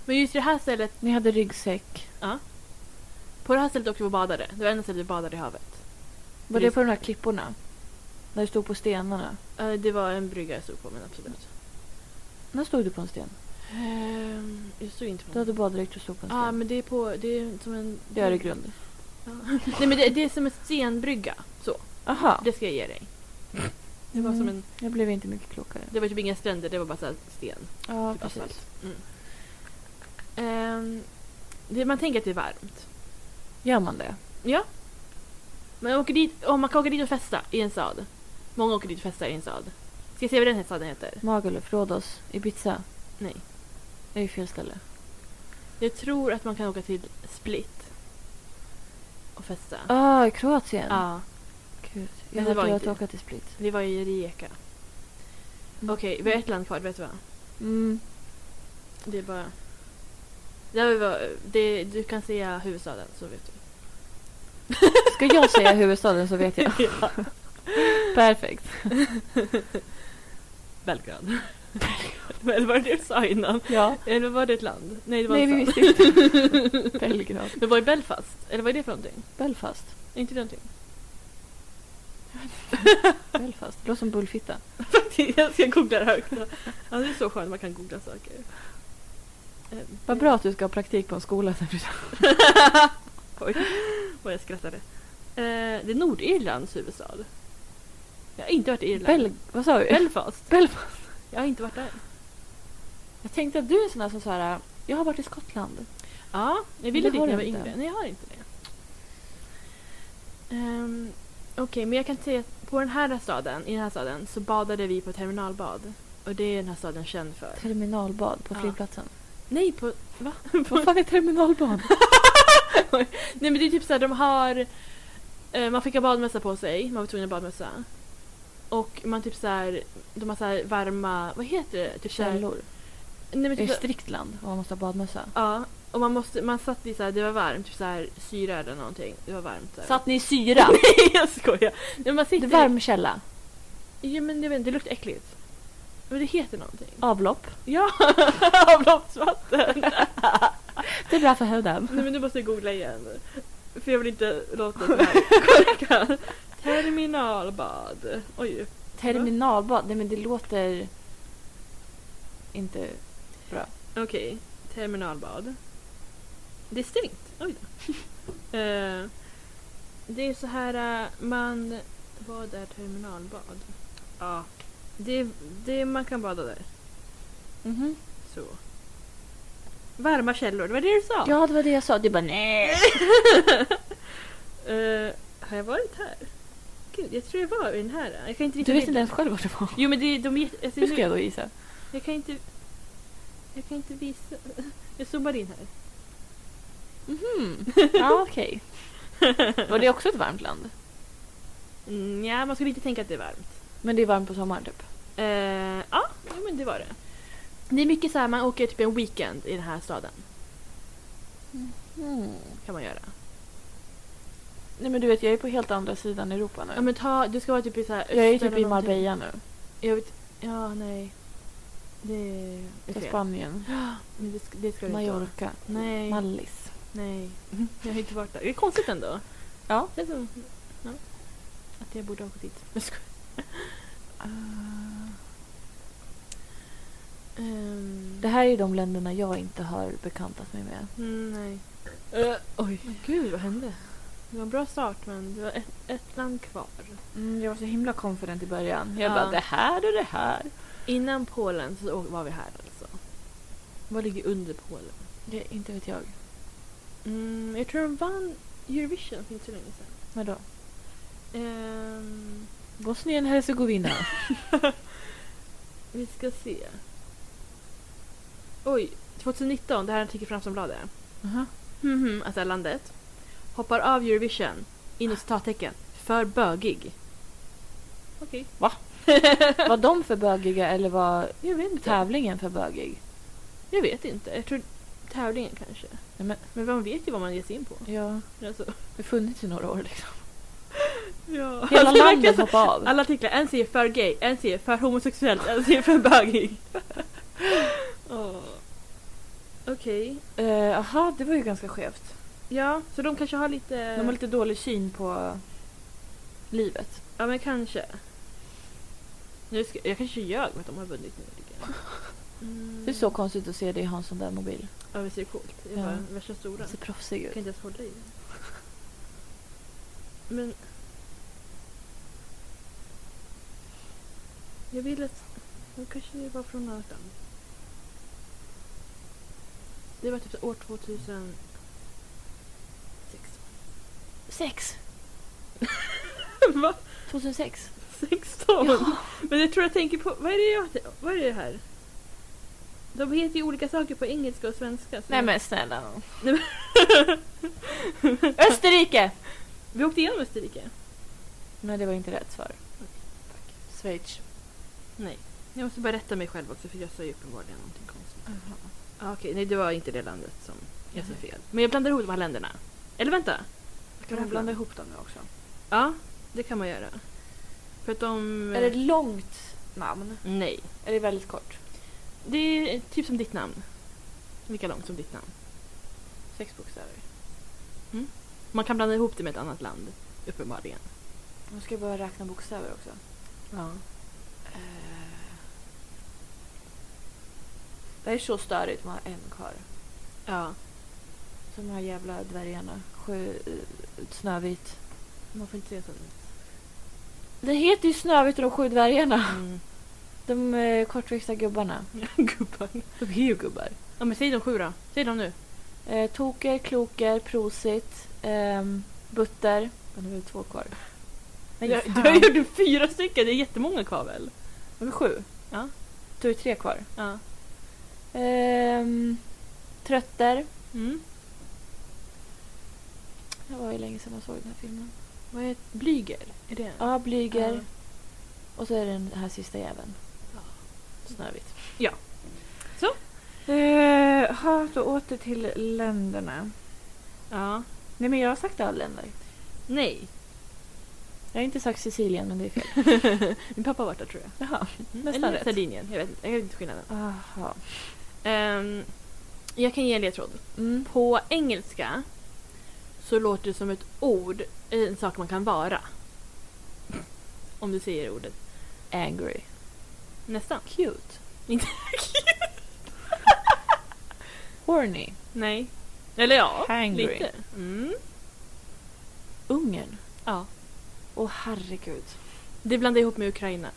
Men just det här stället, ni hade ryggsäck. på det här stället åkte vi och badade. Det var enda stället vi badade i havet. Var Rygg- det på de här klipporna? När du stod på stenarna? Eh, det var en brygga jag stod på, men absolut. När stod du på en sten? Ehm, jag stod inte på Du hade någon. baddräkt och stod på en sten. Ja, men det är på... Det är som en... Det är i grund. Ja. Nej, men det, det är som en stenbrygga. Så, Aha. det ska jag ge dig. Det var Mm. som en... Jag blev inte mycket klokare. Det var typ inga stränder, det var bara så här sten. Ja, Typ precis. asfalt. Mm. Ehm, det, man tänker att det är varmt. Gör man det? Ja. Man, åker dit, oh, man kan åka dit och festa i en stad. Många åker dit och festar i en stad. Ska jag se vad den här staden heter? Magaluf, Rhodos, Ibiza? Nej. Det är ju fel ställe. Jag tror att man kan åka till Split. Och festa. Ah, Kroatien? Ja. Gud. Men Jag det har var velat inte- åka till Split. Vi var i Rijeka. Mm. Okej, vi har ett land kvar, vet du vad? Mm. Det är bara... Där vi var, det, du kan säga huvudstaden så vet du. Ska jag säga huvudstaden så vet jag. Perfekt. Belgrad. Belgrad. Eller var det det du sa innan? Ja. Eller var det ett land? Nej, det var Nej, en vi stad. visste inte. Belgrad. Men var är Belfast? Eller vad är det för någonting? Belfast. Är inte det någonting? Belfast. Det låter som bullfitta. Jag ska googla det högt. Ja, det är så skönt man kan googla saker. Eh, Vad bra att du ska ha praktik på en skola sen. Oj, vad jag skrattade. Eh, det är Nordirlands huvudstad. Jag har inte varit i Irland. Bel... Vad sa du? Belfast. Belfast. Jag har inte varit där. Jag tänkte att du är en sån där som så här, jag har varit i Skottland. Ja, jag Det ville det har när jag du var inte. yngre. Nej, jag har inte det. Ehm, Okej, men jag kan säga att på den här staden, i den här staden så badade vi på terminalbad. Och det är den här staden känd för. Terminalbad på Ja. flygplatsen. Nej, på... Va? Vad fan är terminalbad? Nej men det är typ såhär, de har... Eh, man fick ha badmössa på sig, man var tvungen att ha badmössa. Och man typ såhär, de har såhär varma, vad heter det? Typ såhär- Källor. Nej men Det är typ så- strikt land och man måste ha badmössa. Ja, och man, måste, man satt i såhär, det var varmt, typ såhär syra eller någonting. Det var varmt. Såhär. ni i syra? Nej jag skojar! Nej, men man det är sitter... varm källa. Ja men jag vet inte, det luktar äckligt. Men det heter någonting. Avlopp. Ja, avloppsvatten! Det är bra för huden. Nej men nu måste jag googla igen. För jag vill inte låta det här korkat. Terminalbad. Oj. Terminalbad, nej men det låter inte... Okej, terminalbad. Det är stängt. Oj då. Eh, det är så här eh, man... Vad är terminalbad? Ja, det, det man kan bada där. Mhm. Så. Varma källor, det var det du sa? Ja, det var det jag sa. Du bara nej. Eh, har jag varit här? Gud, jag tror jag var i den här. Jag kan inte Du riktigt vet inte bilden. ens själv vad det var. Jo men det, de är jätte- alltså, Hur ska nu- jag då gissa? Jag kan inte... Jag kan inte visa... Jag zoomar in här. Mhm. Ja, okej. Var det också ett varmt land? Mm, ja, man skulle inte tänka att det är varmt. Men det är varmt på sommaren typ. Eh, ja, jo, men det var det. Det är mycket så här, man åker typ en weekend i den här staden. Mm. Kan man göra. Nej men du vet, jag är på helt andra sidan Europa nu. Ja, men ta, du ska vara typ i så här jag är öster typ eller i någonting. Marbella nu. Jag vet, ja, nej. Det är I fel. Spanien. Men det, ska- det ska du inte vara. Mallorca. Nej. Mallis. Nej, jag har inte varit där. Det är konstigt ändå. Ja. Det är så, ja. Att jag borde ha åkt dit. Jag skojar. Ah. Ehm, Det här är ju de länderna jag inte har bekantat mig med. Mm, nej. Eh, oj. gud, vad hände? Det var en bra start, men det var ett, ett land kvar. Mm, jag var så himla confident i början. Jag bara, "Det här och det här. Innan Polen så å- var vi här alltså. Vad ligger under Polen? Det, inte vet jag. Mm, jag tror de vann Eurovision för inte så länge sedan. Vadå? Ehm, Bosnien Hercegovina. vi ska se. Oj, 2019, det här är en artikel från Aftonbladet. Aha. Mhm, alltså landet. Hoppar av Eurovision, inom citattecken, för bögig. Okej. Va? Var de för bögiga eller var Jag vet inte. tävlingen för bögig? Jag vet inte. Jag tror tävlingen kanske. Nej, men, Men man vet ju vad man ger sig in på. ja, Alltså. det har funnits i några år liksom. Ja. Hela Alltså, verkligen landet så- hoppade av. Alla artiklar, en säger för gay, en säger för homosexuell, en säger för bögig. Åh. Okej. Jaha, Eh, det var ju ganska skevt. Ja, så de kanske har lite... De har lite dålig syn på livet. Ja men kanske. Nu ska... Jag kanske ljög med att de har vunnit nu. tycker jag. Mm. Det är så konstigt att se dig ha en sån där mobil. Ja visst är det coolt. Det är Ja. bara värsta stora. Du ser proffsig Jag ut. kan inte ens hålla i den. Men... Jag vill att... De kanske var från något annat. Det var typ så år 2016. Sex. Va? 2006. 16? Ja. Men jag tror jag tänker på, vad är det jag, vad är det här? De heter ju olika saker på engelska och svenska. så- Nej men snälla nån. Nej, Österrike! Vi åkte igenom Österrike. Nej, det var inte rätt svar. Fuck. Schweiz. Nej. Jag måste bara rätta mig själv också för jag sa ju uppenbarligen någonting konstigt. Ah, Okej, nej det var inte det landet som jag sa Mhm. fel. Men jag blandar ihop de här länderna. Eller vänta! Kan man blanda ihop dem nu också? Ja, det kan man göra. För att de... eh, Är det ett långt namn? Nej. Är det väldigt kort? Det är typ som ditt namn. Lika långt som ditt namn. Mm. Sex bokstäver. Man kan blanda ihop det med ett annat land, uppenbarligen. Nu ska jag bara räkna bokstäver också. Eh. Ja. Det här är så störigt, man har en kvar. Ja. Som de här jävla dvärgarna. Sjö... eh, Snövit. Man får inte säga sånt. Det heter ju Snövit och de sju dvärgarna. Mm. De eh, kortväxta gubbarna. Gubbar. De är ju gubbar. Ja men säg de sju då. Säg dem nu. Eh, toker, Kloker, Prosit, ehm, Butter. Men det är väl två kvar. Nej, jag, fan. jag gjorde fyra stycken, det är jättemånga kvar väl? De är sju. Ja. Du är tre kvar. Ja. Ehm, trötter. Mm. Det var ju länge sedan man såg den här filmen. Vad är Blyger? Är det? Ja, Blyger. Ja. Och så är det den här sista jäveln. Ja. Snövit. Eh, ha, då åter till länderna. Ja. Nej, men jag har sagt alla länder. Nej. Jag har inte sagt Sicilien, men det är fel. Min pappa har varit där tror jag. Jaha. Mm. Nästan Eller rätt. Sardinien, jag vet inte. Jag vet inte skillnaden. Aha. Ehm, jag kan ge en ledtråd. Mm. På engelska så låter det som ett ord, en sak man kan vara. Om du säger ordet. Angry. Nästan. Cute. Inte Horny. Nej. Eller ja, Hangry. lite. Mm. Ungern. Ja. Åh herregud. Det blandar jag ihop med Ukraina.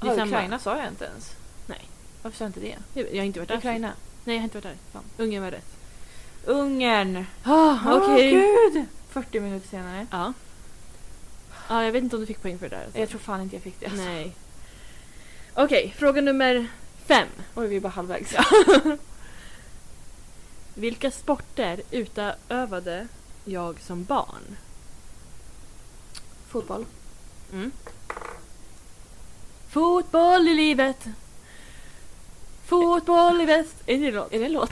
Det är Ja, samma. Ukraina sa jag inte ens. Nej. Varför sa jag inte det? Jag jag har inte varit där. Ukraina. Nej, jag har inte varit där. Fan. Ungern var rätt. Ungern! Ah, Åh, okej. gud! 40 minuter senare. Ja. Ja, jag vet inte om du fick poäng för det där. alltså. Jag tror fan inte jag fick det. Alltså. Nej. Okej, fråga nummer fem. Oj, vi är bara halvvägs. Vilka sporter utövade jag som barn? Fotboll. Mm. Fotboll i livet. Fotboll i väst. Är det en låt? Är det en låt?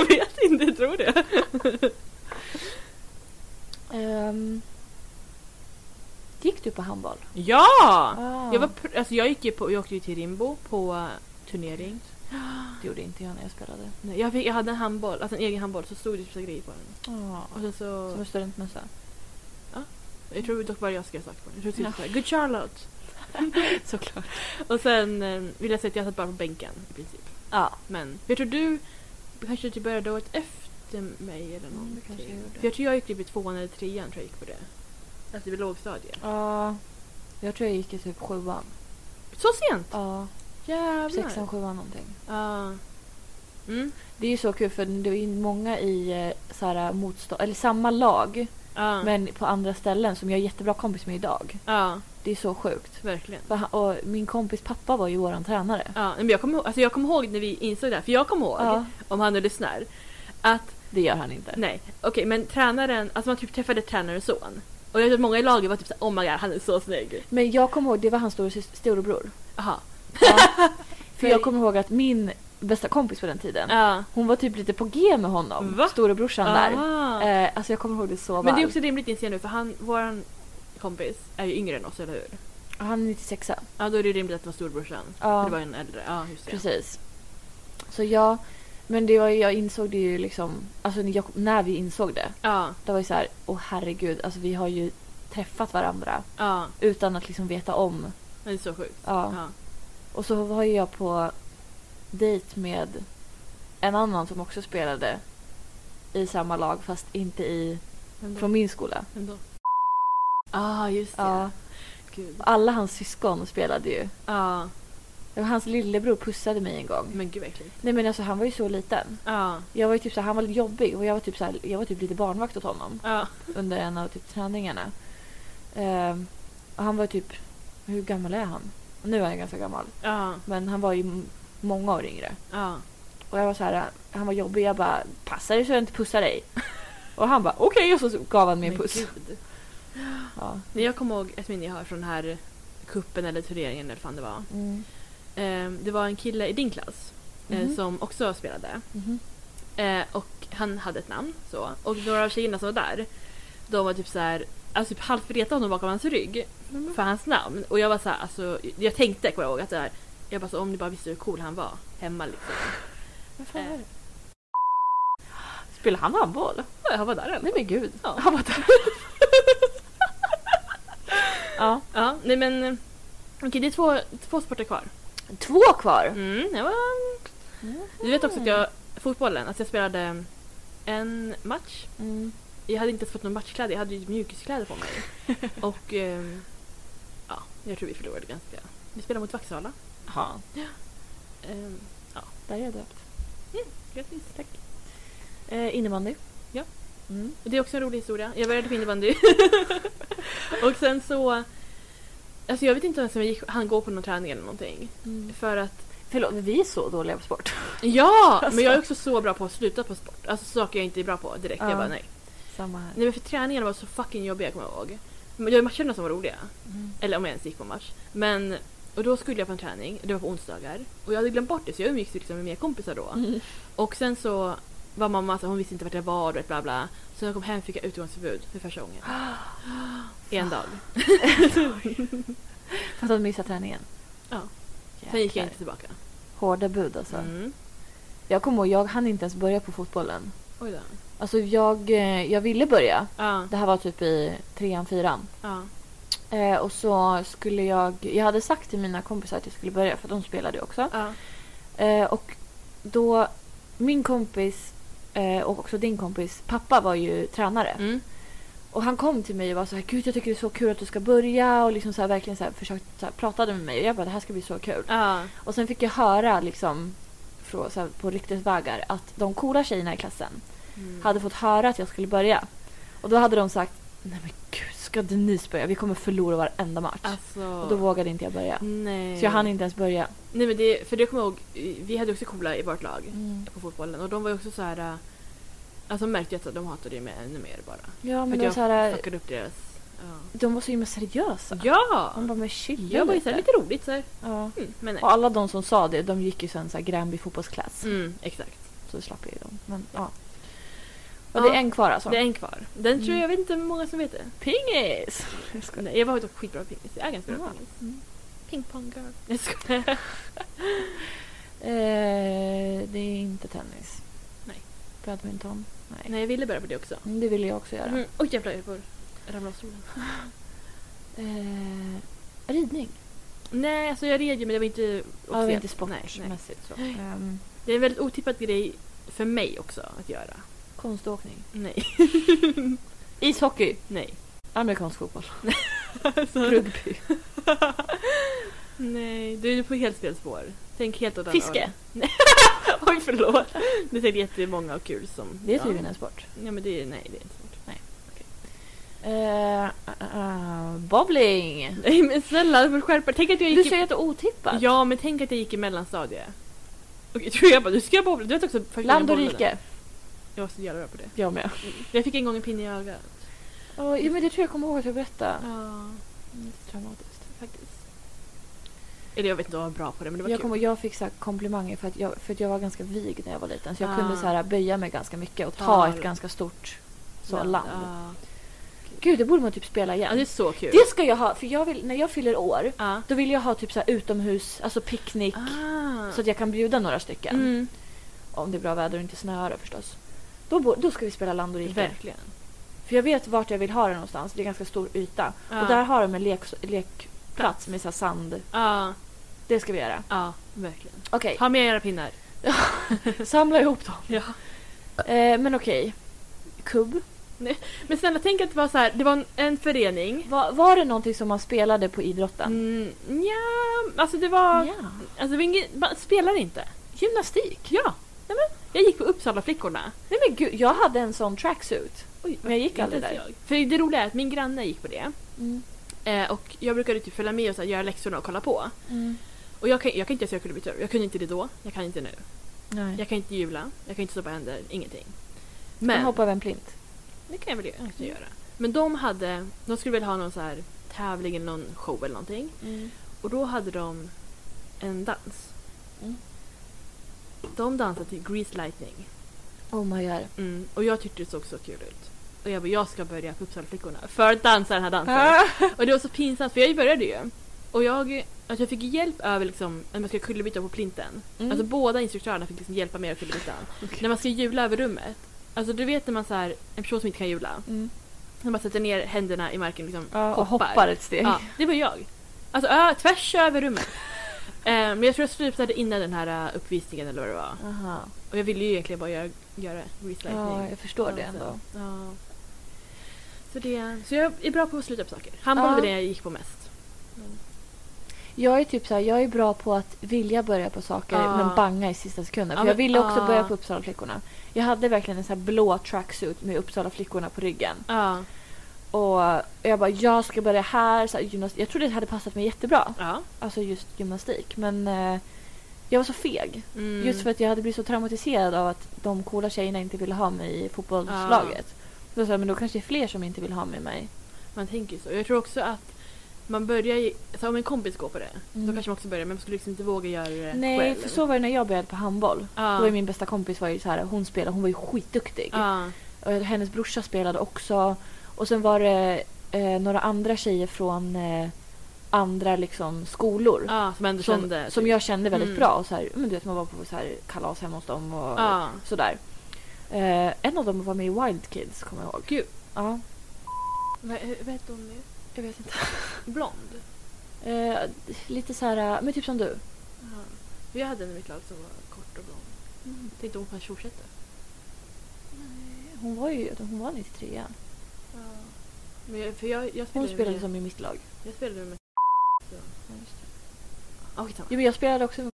Jag vet inte, jag tror det. Ehm, gick du på handboll? Ja! Ah. Jag, var pr- alltså jag, gick ju på, jag åkte ju till Rimbo på eh, turnering. Det gjorde inte jag när jag spelade. Nej, jag, fick, jag hade en handboll, alltså en egen handboll, så stod det typ så grejer på den. Ah. Och sen Som så... en studentmössa. Jag tror dock bara jag skrev saker på den. Jag tror Ja. typ såhär, Good Charlotte! Såklart. Och sen eh, vill jag säga att jag satt bara på bänken i princip. Ja. Men jag tror du kanske typ började året efter mig eller Mm, det kanske jag någonting. gjorde. För jag tror jag gick typ i tvåan eller trean tror jag gick på det. Alltså det var lågstadiet. Ja. Jag tror jag gick i typ sjuan. Så sent! Ja. Jävlar! Sexan, sjuan någonting. Ja. Mm. Det är ju så kul för det är ju många i eh, så här, motstånd, eller samma lag Ja. men på andra ställen som jag är jättebra kompis med idag. Ja, Det är så sjukt. verkligen. För han, och min kompis pappa var ju våran tränare. Ja, men jag kommer ihåg, alltså jag kommer ihåg när vi insåg det här, för jag kommer ihåg, Ja, om han nu lyssnar, att det gör han inte. Nej, okej men tränaren, alltså man typ träffade tränarens son. Och jag vet att många i laget var typ såhär oh my god han är så snygg. Men jag kommer ihåg, det var hans storasys- storebror. Jaha. För jag kommer ihåg att min bästa kompis på den tiden, Ja. hon var typ lite på G med honom. Va? Storebrorsan där. Aha. Eh, alltså jag kommer ihåg det så väl. Men det är också rimligt inser jag nu för han, våran kompis är ju yngre än oss, eller hur? Han är 96 Ja då är det rimligt att det var storbrorsan. För Ja, det var en äldre, ja just det. precis. Så ja, men det var, ju- jag insåg det ju liksom, alltså när jag, när vi insåg det. Ja, Det var ju så här, åh herregud, alltså vi har ju träffat varandra ja. utan att liksom veta om. Det är så sjukt. Ja. Ja. Och så var ju jag på dejt med en annan som också spelade i samma lag fast inte i, Vem då? från min skola. Vem då? Ah just det. Ja. Gud. Alla hans syskon spelade ju. Ja. Det var hans lillebror pussade mig en gång. Men gud vad äckligt. Nej men alltså han var ju så liten. Ja. Jag var ju typ så här, han var lite jobbig och jag var typ så här, jag var typ lite barnvakt åt honom Ja. under en av typ träningarna. Ehm, och han var typ, hur gammal är han? Nu är han ganska gammal. Ja. Men han var ju m- många år yngre. Ja. Och jag var så här, han var jobbig. Jag bara, passar det så jag inte pussar dig? Och han bara, okej. Och så gav han mig en Men puss. gud. Ja. Nej, jag kommer ihåg ett minne jag har från den här kuppen eller turneringen eller vad fan det var. Mm. Eh, Det var en kille i din klass eh, Mhm. som också spelade. Mhm. Eh, och han hade ett namn. Så. Och några av tjejerna som var där, de var typ så här, alltså typ halvt retade honom bakom hans rygg Mhm. för hans namn. Och jag var så här, alltså, jag tänkte, kommer jag ihåg, att det här, jag bara så, om ni bara visste hur cool han var hemma liksom. Vad fan Eh. var det? Spelar han handboll? Ja, han var där ändå. Nej men gud. Ja. Han var där. ja. Ja, nej men eh, okej det är två, två sporter kvar. Två kvar. Mm. Mm, jag var... Du vet också att jag, fotbollen, att jag spelade en match. Mm. Jag hade inte ens fått någon matchkläder, jag hade ju mjukiskläder på mig. Och ehm, ja, jag tror vi förlorade ganska. Vi spelade mot Vaksala. Jaha. Ehm, Där är jag döpt. grattis. Tack. Eh, innebandy. Ja. Mm. Det är också en rolig historia. Jag började på innebandy. och sen så... Alltså jag vet inte ens om jag gick, han går på någon träning eller någonting. För att Mm. Förlåt, men vi är så dåliga på sport. Ja! Alltså. Men jag är också så bra på att sluta på sport. Alltså saker jag inte är bra på direkt. Ja. Jag bara nej. Samma här. Nej men för träningarna var så fucking jobbiga kommer jag ihåg. Men det var matcherna som var roliga. Mm. Eller om jag ens gick på match. Men, och då skulle jag på en träning, det var på onsdagar. Och jag hade glömt bort det så jag umgicks liksom med mina kompisar då. Mm. Och sen så var mamma så hon visste inte vart jag var och bla bla. Så när jag kom hem fick jag utegångsförbud för första gången. en dag. För att de missade träningen. Ja. Sen gick jag Jäklar. inte tillbaka. Hårda bud alltså. Mm. Jag kommer ihåg, jag hann inte ens börja på fotbollen. Oj då. Alltså jag, eh, jag ville börja. Ja, Det här var typ i trean, fyran. ja, Eh, och så skulle jag... Jag hade sagt till mina kompisar att jag skulle börja för att de spelade ju också. ja, Eh, och då... Min kompis eh, och också din kompis pappa var ju tränare. mm. Och han kom till mig och var så här, gud jag tycker det är så kul att du ska börja och liksom så här, verkligen så här, försökte, så här, pratade med mig och jag bara det här ska bli så kul. ja, Och sen fick jag höra liksom från, så här, på ryktesvägar att de coola tjejerna i klassen mm. hade fått höra att jag skulle börja. Och då hade de sagt, nej men gud ska Denise börja? Vi kommer förlora varenda match. Alltså. Och då vågade inte jag börja. Nej. Så jag hann inte ens börja. Nej men det, för det kommer jag ihåg, vi hade också coola i vårt lag på fotbollen och de var ju också så här. äh, Alltså märkte jag att de hatade det ännu mer bara. Ja För men att de, var jag så här, fuckade upp deras... Ja! de var så himla seriösa. De ja! bara, men chilla Jag var ju såhär lite roligt såhär. Ja. Mm, men nej. Och alla de som sa det, de gick ju sen så här Gränby fotbollsklass. Mm, exakt. Så slapp jag ju dem. Men, ja. Ja. Och det är en kvar alltså? Det är en kvar. Den tror Mm. jag, jag vet inte hur många som vet det. pingis! Jag skojar. Nej, jag var dock skitbra på pingis. Jag är ganska bra Ja. på pingis. Mm. Pingpong girl. Jag skojar. Eh, det är inte tennis. Nej. Badminton? Nej. Nej, jag ville börja på det också. Mm, Det ville jag också göra. Mm. Oj jävlar, jag får ramla av stolen. Eh, ridning? Nej, alltså jag red ju men det var inte Ja, det var inte Nej, nej. sportmässigt så. Ehm, Det är en väldigt otippad grej för mig också att göra. konståkning? Nej. Ishockey? Nej. Amerikansk fotboll? Alltså, Rugby? nej, du är på helt fel spår. Tänk helt åt andra Fiske? hållet. Oj, förlåt. Det är säkert jättemånga och kul som... Det är tydligen en sport. Ja, men det är... Nej, det är inte svårt. Eh, eh, bowling? Nej, men snälla, du får skärpa dig. Tänk att jag Du gick... säger att det är otippat. Ja, men tänk att jag gick i mellanstadiet. Okej, tror jag bara, du ska jag bowla. Du vet också... första Land och gången jag bowlade. rike? Jag var så jävla bra på det. Jag med. Jag fick en gång en pinne i ögat. Oh, ja, men det tror jag kommer ihåg att jag berättade. Ja, Mm, det är traumatiskt. faktiskt. Eller jag vet inte om jag var bra på det, men det var Jag, kul. kommer, jag fick så här komplimanger för att jag, för att jag var ganska vig när jag var liten. Så jag Ah. kunde så här böja mig ganska mycket och ta Ja. ett ganska stort så Men, land. Ja, Gud, det borde man typ spela ja det är igen. så kul. Ah. Det ska jag ha, för jag vill, när jag fyller år Ja. då vill jag ha typ så här utomhus, alltså picknick. Ah. Så att jag kan bjuda några stycken. mm. Om det är bra väder och inte snöar då förstås. Då, bo- då ska vi spela land och rike. Verkligen. För jag vet vart jag vill ha det någonstans. Det är ganska stor yta. Ja. Och där har de en lek, lekplats med så här sand. Ja, Det ska vi göra. ja, verkligen. Okej, Ha med era pinnar. samla ihop dem. Ja. Eh, men okej. Kubb. Nej. Men snälla tänk att det var så här, det var en, en förening. Var, var det någonting som man spelade på idrotten? Mm, ja, alltså det var... Ja. Alltså det var ingen, man spelar inte. Gymnastik. Ja! Nej, men, jag gick på Uppsala flickorna. Nej men gud, jag hade en sån tracksuit. Oj, Men jag gick inte aldrig ens där. Jag. För det roliga är att min granne gick på det. Eh, och jag brukade typ följa med och så här, göra läxorna och kolla på. Och jag kan, jag kan inte säga att jag kunde byta över. Jag kunde inte det då, jag kan inte nu. Nej. Jag, Jag kan inte jula, jag kan inte stå på händer, ingenting. men. Men hoppade över en plint. det kan jag väl göra. inte göra. Men de hade, de skulle väl ha någon så här tävling eller någon show eller någonting. Och då hade de en dans. Mm. De dansade till Grease Lightning. Oh my god. Mm. Och jag tyckte det såg så kul ut. Och jag bara, jag ska börja på Uppsalaflickorna för att dansa den här dansen. Ah. Ah. Och det var så pinsamt för jag började ju. Och jag, alltså jag fick hjälp över liksom, när man ska kullerbyta på plinten. Mm. Alltså båda instruktörerna fick liksom hjälpa mig att kullerbyta. När man ska hjula över rummet. Alltså du vet när man så här, en person som inte kan hjula. När man sätter ner händerna i marken liksom, Ja, och Mm. hoppar ett steg. Ja, det var jag. Alltså ö, tvärs över rummet. Eh, Men jag tror jag slutade innan den här eh, uppvisningen eller vad det var. Aha. Och jag ville ju egentligen bara göra, göra grease ja, lightning. jag förstår det Ja, så- ändå. Ja. Så, det, så jag är bra på att sluta på saker. Handboll Ja. var det jag gick på mest. Jag är typ så här, jag är bra på att vilja börja på saker Ja. men banga i sista sekunden. Ah. Ja, För jag men- ah. ville också ja. börja på Uppsalaflickorna. Jag hade verkligen en så här blå tracksuit med Uppsalaflickorna på ryggen. Ja. Och jag bara, jag ska börja här. Så här gymnastik. Jag trodde det hade passat mig jättebra. ja. Alltså just gymnastik. Men eh, jag var så feg. Mm. Just för att jag hade blivit så traumatiserad av att de coola tjejerna inte ville ha mig i fotbollslaget. Ah. Då sa jag, men då kanske det är fler som inte vill ha med mig. Man tänker ju så. Jag tror också att man börjar i, så om en kompis går på det, då Mm. kanske man också börjar men man skulle liksom inte våga göra det Nej, själv. Ah. för så var det när jag började på handboll. Ja. Då var ju min bästa kompis var ju så här, hon spelade, hon var ju skitduktig. Ja. Och hennes brorsa spelade också. Och sen var det eh, några andra tjejer från eh, andra liksom, skolor. Ja, som ändå som, kände. som typ. jag kände väldigt Mm. bra. Och så här, men du vet, man var på så här, kalas hemma hos dem och Ja. sådär. Eh, en av dem var med i Wild Kids, kommer jag ihåg. Gud. Ja, Vad vad hette hon nu? jag vet inte. Blond? Eh, lite så här, eh, men typ som du. Ja. Jag hade en i mitt lag som var kort och blond. Mm. Tänkte hon på en tjurkätte. Hon var ju hon var 93 Men jag, för jag, jag spelade Hon ju spelade med, som i mitt lag. Jag spelade med... Oh, Jo, men jag spelade också med...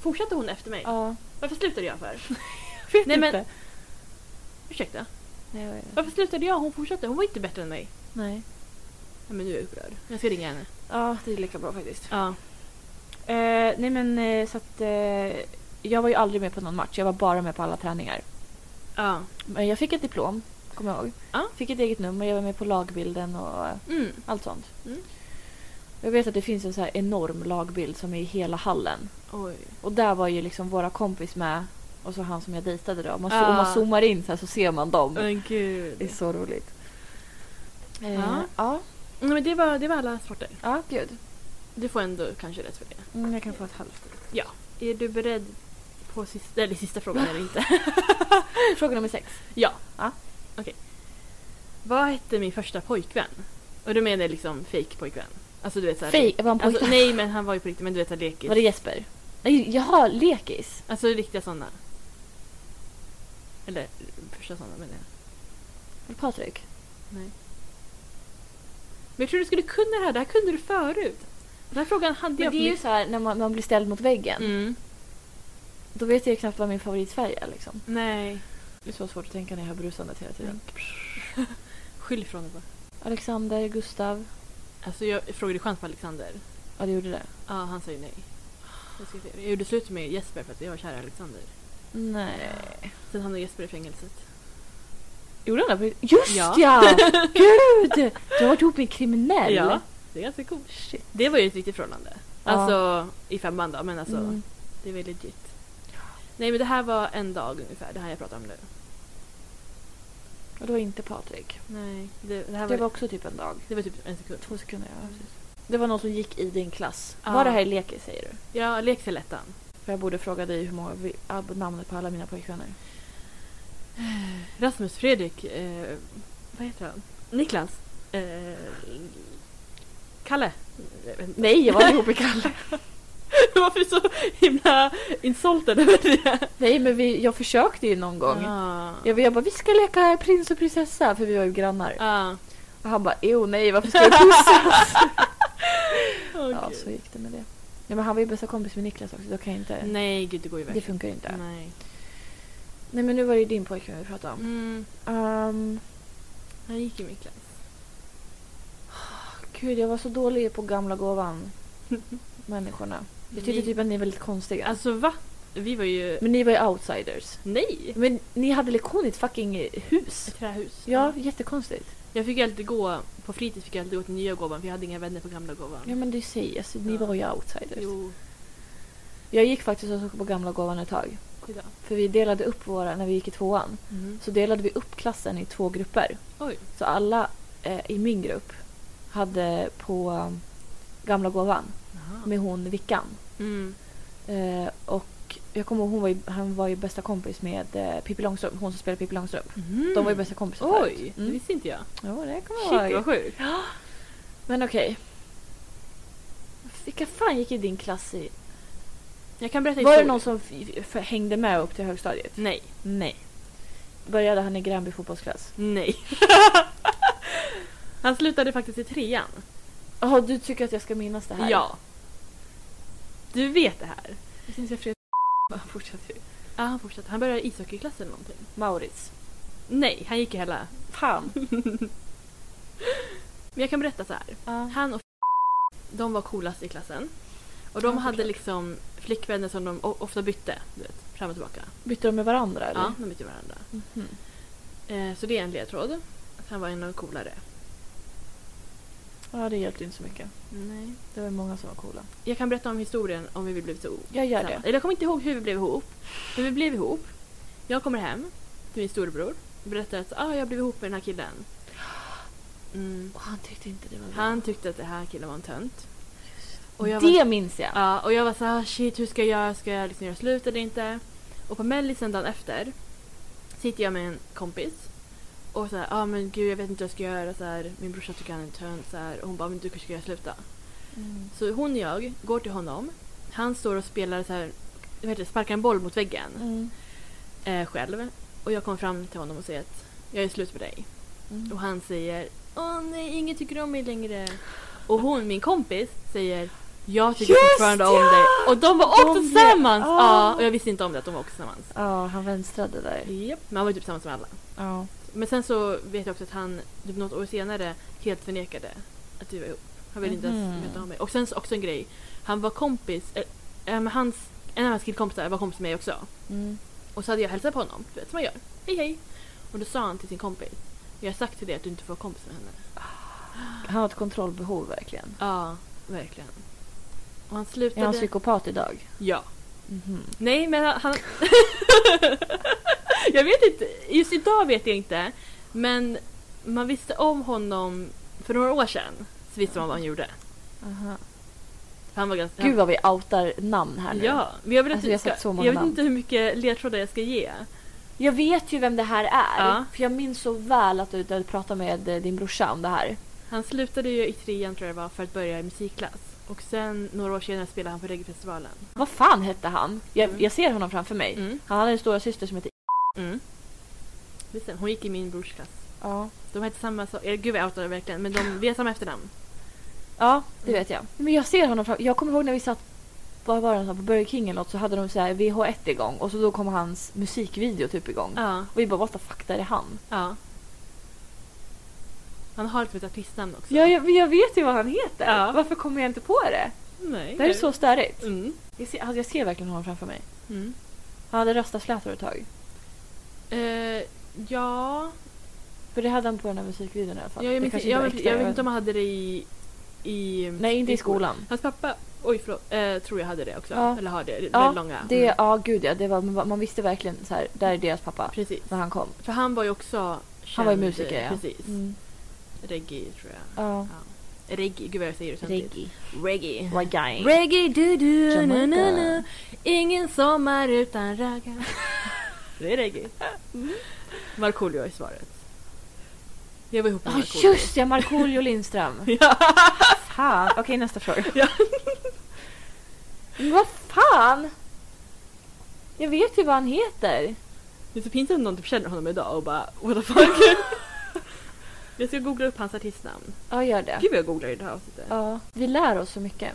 Fortsatte hon efter mig? Ja, Varför slutade jag för? jag vet Nej, men- inte. Ursäkta? Nej, jag vet. Varför slutade jag? Hon fortsatte. Hon var inte bättre än mig. Nej. Nej, men nu är jag upprörd. Jag ska ringa henne. Ja, det är lika bra faktiskt. Ja. Eh, nej men eh, så att eh, jag var ju aldrig med på någon match. Jag var bara med på alla träningar. Ja. Men jag fick ett diplom, kommer jag ihåg. Ja. Fick ett eget nummer, jag var med på lagbilden och eh, Mm. allt sånt. Mm. Jag vet att det finns en så här enorm lagbild som är i hela hallen. Oj. Och där var ju liksom våra kompis med och så han som jag dejtade då. Om man, Ja. om man zoomar in så här så ser man dem. Men gud. Det är så roligt. Eh, Ja. ja. Nej, men det var, det var alla sporter. Ja, gud. Du får ändå kanske rätt för det. Mm, jag kan få ett halvt. Är du beredd på sista, eller sista frågan eller inte? Fråga nummer sex. Ja. Ja. Okej. Vad hette min första pojkvän? Och då menar jag liksom fake pojkvän. Alltså du vet såhär... Fej, var han Alltså, pojkvän? nej men han var ju på riktigt men du vet såhär lekis. Var det Jesper? Nej, jaha, lekis. Alltså riktiga sådana. Eller första sådana menar jag. Var det Patrik? Men jag tror du skulle kunna det här, det här kunde du förut. Den här frågan hade Men jag det är ju så här när man, man blir ställd mot väggen. Mm. Då vet jag ju knappt vad min favoritfärg är liksom. Nej. Det är så svårt att tänka när jag har brusandet hela tiden. Skyll ifrån dig bara. Alexander, Gustav. Alltså jag frågade chans på Alexander. Ja, du gjorde det. Ja, han sa ju nej. Jag, ska se. jag gjorde slut med Jesper för att jag var kär i Alexander. Nej. Sen hamnade Jesper i fängelset. Gjorde han det på riktigt? Just Ja. ja! Gud! Du har varit ihop med en kriminell. Ja, det är ganska coolt. Shit. Det var ju ett riktigt förhållande. Ja. Alltså i femman då, men alltså Mm. det var legit. Nej men det här var en dag ungefär, det här jag pratar om nu. Och det var inte Patrik. Nej, det, det här Det var, var också typ en dag. det var typ en sekund. Två sekunder, ja. precis. Det var någon som gick i din klass. Ja. Var det här i lekis säger du? Ja, lek till ettan. För jag borde fråga dig hur många vi- ab- namnet på alla mina pojkvänner. Rasmus Fredrik, eh, vad heter han? Niklas. Eh, Kalle. Nej, jag var ihop med Kalle. Varför är du så himla insulted över det? Nej, men vi, jag försökte ju någon gång. Ah. Jag, jag bara, vi ska leka prins och prinsessa, för vi var ju grannar. Ah. Och han bara, jo nej, varför ska jag pussas? Åh, Ja, gud. så gick det med det. Ja, men han var ju bästa kompis med Niklas också, då kan jag inte... Nej, gud det går ju Det verkligen funkar ju inte. Nej. Nej, men nu var det ju din pojkvän vi pratade om. Mm. Ehm, Han gick i min klass. gud, jag var så dålig på gamla gåvan. Människorna. Jag tyckte Vi- typ att ni var lite konstiga. Alltså va? Vi var ju... men ni var ju outsiders. Nej! Men ni hade lektion i ett fucking hus. Ett trähus. Ja, jättekonstigt. Jag fick ju alltid gå, på fritids fick jag alltid gå till nya gåvan för jag hade inga vänner på gamla gåvan. Ja, men det sägs. Ni Ja. var ju outsiders. Jo, Jag gick faktiskt också på gamla gåvan ett tag. idag. För vi delade upp våra, när vi gick i tvåan, så delade vi upp klassen i två grupper. Oj. Så alla eh, i min grupp hade på um, gamla gåvan med hon Vickan. Mm. Eh, och jag kommer ihåg, hon var ju, han var ju bästa kompis med eh, Pippi Långstrump, hon som spelade Pippi Långstrump. Mm. De var ju bästa kompisar Oj, det Mm. visste inte jag. Ja, det kommer Shit jag vad ihåg. sjukt. Men okej. Vilka fan gick i din klass i? Jag kan berätta Var det historier. någon som f- f- hängde med upp till högstadiet? Nej, Nej. Började han i Gränby fotbollsklass? nej. Han slutade faktiskt i trean. Jaha, du tycker att jag ska minnas det här? Ja. Du vet det här. Jag syns jag Fredrik... Fortsätt ju. Ja, han fortsatte. Han började i ishockeyklass eller någonting. Maurits. Nej, han gick i hela... Fan. Men jag kan berätta så här. Han och de var coolast i klassen. Och de Ja, hade såklart. liksom flickvänner som de o- ofta bytte. Du vet, fram och tillbaka. Bytte de med varandra eller? Ja, de bytte varandra. Mhm. Eh, så det är en ledtråd. Att han var en av de coolare. ja, det hjälpte inte så mycket. Nej. Det var många som var coola. Jag kan berätta om historien om hur vi blev så ihop. Jag gör det. Eller jag kommer inte ihåg hur vi blev ihop. Men vi blev ihop. Jag kommer hem till min storebror. Berättar att ah, jag blev ihop med den här killen. Mm. Och han tyckte inte det var bra. Han tyckte att det här killen var en tönt. Och jag var det minns jag. Ja, och jag var så här, shit hur ska jag göra? Ska jag liksom göra slut eller inte? Och på mellisen dagen efter sitter jag med en kompis och så här, ja ah, men gud jag vet inte vad jag ska göra så här, min brorsa tycker han är en tönt så här och hon bara, men du kanske ska göra slut då. Mm. Så hon och jag går till honom, han står och spelar så här, vad heter det, sparkar en boll mot väggen Mm. eh, själv och jag kommer fram till honom och säger att jag är slut med dig. Mm. Och han säger, åh nej ingen tycker om mig längre. Och hon, min kompis, säger jag tycker Just fortfarande om ja! dig. Och de var också De blev- tillsammans! Ah. Ja, och jag visste inte om det att de var också tillsammans. Ja, han vänstrade där. Japp. Men han var ju typ tillsammans med alla. Ja. Men sen så vet jag också att han typ något år senare helt förnekade att vi var ihop. Han ville inte Mhm. ens veta om mig. Och sen så också en grej. Han var kompis, eh, eh, med hans, en av hans killkompisar var kompis med mig också. Mm. Och så hade jag hälsat på honom, du vet som man gör. Hej hej! Och då sa han till sin kompis, jag har sagt till dig att du inte får vara kompis med henne. Han har ett kontrollbehov verkligen. Ja, verkligen. Och han slutade... Är han psykopat idag? Ja. Mhm. Nej, men han- han... jag vet inte. Just idag vet jag inte. Men man visste om honom för några år sedan. Så visste man vad han gjorde. Aha. För Han var ganska... Gud vad vi outar namn här nu. Ja, men jag, vill Alltså, att jag du har ska, sagt så många jag vet namn. inte hur mycket ledtrådar jag ska ge. Jag vet ju vem det här är. Ja. För jag minns så väl att du, du pratade med eh, din brorsa om det här. Han slutade ju i trean tror jag det var för att börja i musikklass. Och sen några år senare spelade han på reggaefestivalen. Vad fan hette han? Jag, Mm. jag ser honom framför mig. Mm. Han hade en stora syster som hette Mm. Visst, hon gick i min brors klass. Ja. De hette samma sak. eh, Gud vad jag outade verkligen. Men de, vi har samma efternamn. Ja, det Mm. vet jag. Men jag ser honom framför Jag kommer ihåg när vi satt vad var det, någonstans, på Burger King eller något så hade de så här VH1 igång och så då kom hans musikvideo typ igång. Ja. Och vi bara what the fuck, där är han? Ja. Han har typ ett artistnamn också. Ja, jag, jag vet ju vad han heter. Ja. Varför kommer jag inte på det? Nej. Det här är så störigt. Mm. Jag ser, alltså, jag ser verkligen honom framför mig. Mm. Han hade röstaslätor ett tag. Eh, ja, För det hade han på den här musikvideon i alla fall. jag, jag, det minns, kanske jag, inte var jag, äkta, vet vet inte om Mm. han hade det i... i Nej, inte i skolan. Hans pappa, oj förlåt, eh, tror jag hade det också. Ja. Eller har det, det är Ja, väldigt långa. Det, Mm. Ja, gud ja. Det var, man- man visste verkligen så här, där är deras pappa. Precis. När han kom. För han var ju också känd. Han var ju musiker ja. Precis. Mm. Reggae tror jag. Ja. Reggae, gud vad jag säger det samtidigt. Reggae. Reggae. Reggae du du na, na, na. Jamaica. Ingen sommar utan ragga. Mm. Det är reggae. Markoolio är svaret. Jag var ihop med Ja, Markoolio. Ah, just ja! Markoolio Lindström. Ja. Fan. Okej, nästa fråga. Men vad fan! Jag vet ju vad han heter. Det är så pinsamt om någon typ känner honom idag och bara what the fuck. jag ska googla upp hans artistnamn. Ja, gör det. Gud vad jag googlar i det här avsnittet. Ja, vi lär oss så mycket.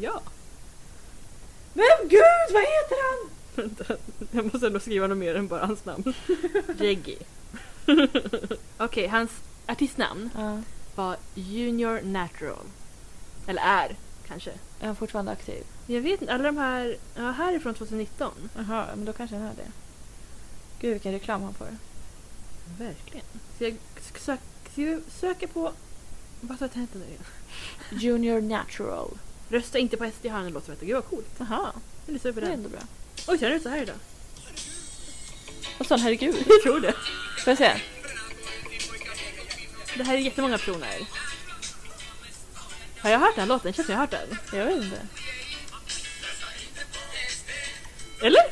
Ja. Men gud, vad heter han? Vänta, jag måste nog skriva något mer än bara hans namn. Reggie. Okej, hans artistnamn Ja. var Junior Natural. Eller är, kanske. Är han fortfarande aktiv? Jag vet inte, alla de här... Ja, här är från 2019. Jaha, men då kanske han är det. Gud, vilken reklam han får. Verkligen. Så jag sk- sök, så jag söker på... Vad sa jag nu igen? Junior Natural. Rösta inte på SD har han en låt som heter Gud vad coolt. Jaha. Jag lyssnar på Det är den. ändå bra. Oj, ser den ut så här idag? Och sån, herregud. Jag tror det. Får jag se? Det här är jättemånga personer. Har jag hört den här låten? Känns som jag har hört den. Jag vet inte. Eller?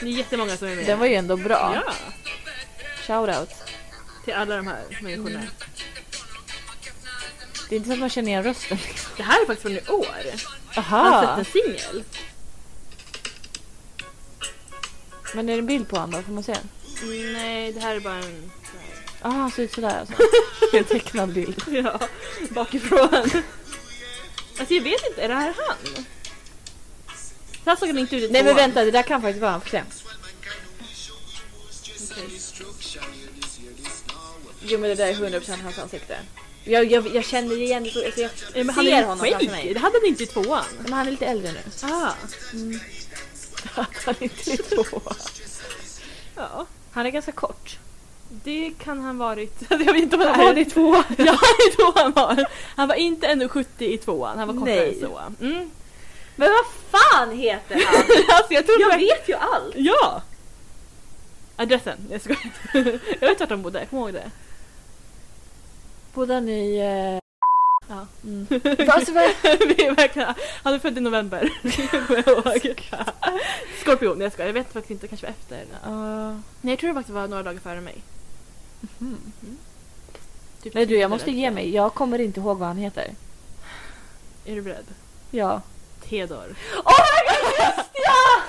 Det är jättemånga som är med. Den var ju ändå bra. Ja! Shoutout. Till alla de här människorna. Det är inte så att man känner igen rösten. liksom. Det här är faktiskt från i år. Han har släppt Aha! en singel. Men är det en bild på honom då? Får man se? Mm, Nej, det här är bara en... så här. Ah, han ser ut sådär alltså. En tecknad bild. Ja, bakifrån. Alltså jag vet inte, är det här han? Så här såg han inte ut i Nej men tvåan. vänta, det där kan faktiskt vara han. Får se. Jo men det där är 100% hans ansikte. Jag, jag, jag känner igen det. så- Alltså, jag Ja, men han ser är honom skägg. framför mig. Det hade han inte i tvåan. Men han är lite äldre nu. Ah, han är inte två. ja. Han är ganska kort. Det kan han varit. Jag vet inte vad han Är var. han i två? Ja, det tror han var. Han var inte 1,70 i tvåan. Han var kortare Nej. än så. Mm. Men vad fan heter han? Alltså jag trodde Jag verkligen... vet ju allt! Ja! Adressen. Jag skojar. Jag vet vart de bodde, kom ihåg det. Bodde han i... eh, Ja. Mm. alltså, vad... Vi är verkligen... Han är född i november. Kommer jag ihåg. Skorpion, jag skojar. Jag vet faktiskt inte, kanske var efter. Ja. Nej jag tror det faktiskt var några dagar före mig. Typ Mhm. Nej du, tio jag måste eller ge så. mig. Jag kommer inte ihåg vad han heter. Är du beredd? Ja. Theodor. Oh my god, just ja!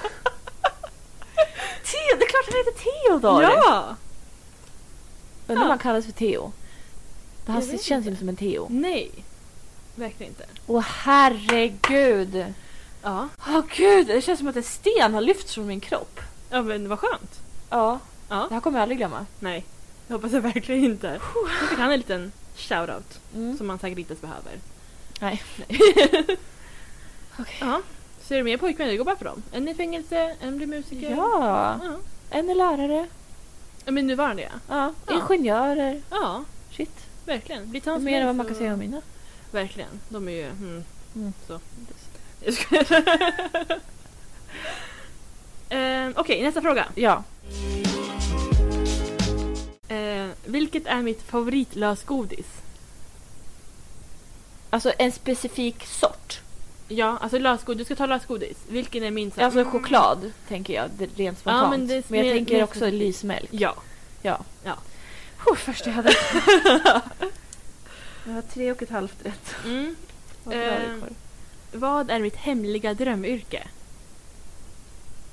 Theo, det är klart han heter Theodor! Ja! Ja. Undrar om han kallas för Theo. Det här Jag vet känns inte. inte som en Theo. Nej. Verkligen inte. Åh herregud! Ja. Åh gud, det känns som att en sten har lyfts från min kropp. Ja men vad skönt. Ja. Ja. Det här kommer jag aldrig glömma. Nej, jag hoppas jag verkligen inte. Jag fick han en liten shoutout Mm. som man säkert inte ens behöver. Nej. Okej. Ja, så är det mer pojkvänner, det går bra för dem. En i fängelse, en blir musiker. Ja! ja. En är lärare. Ja, Men nuvarande ja. Ja. Ja. Ingenjörer. Ja, Shit. verkligen. Blir Det är tillsammans mer mig än vad man kan så- säga om mina. Verkligen. De är ju... Mm, Mm. Så. Jag skojar. Ehm, Okej, nästa fråga. Ja. Eh, vilket är mitt favoritlösgodis? Alltså en specifik sort. Ja, alltså lösgodis. Du ska ta lösgodis. Vilken är min? så- Mm. Alltså choklad tänker jag det- rent spontant. men men, det är jag mer- tänker mer också specifikt. lysmjölk. Ja. Oh, först jag hade... Jag har tre och ett halvt rätt. Mm. Vad bra det Ehm, Eh, går. Vad är mitt hemliga drömyrke?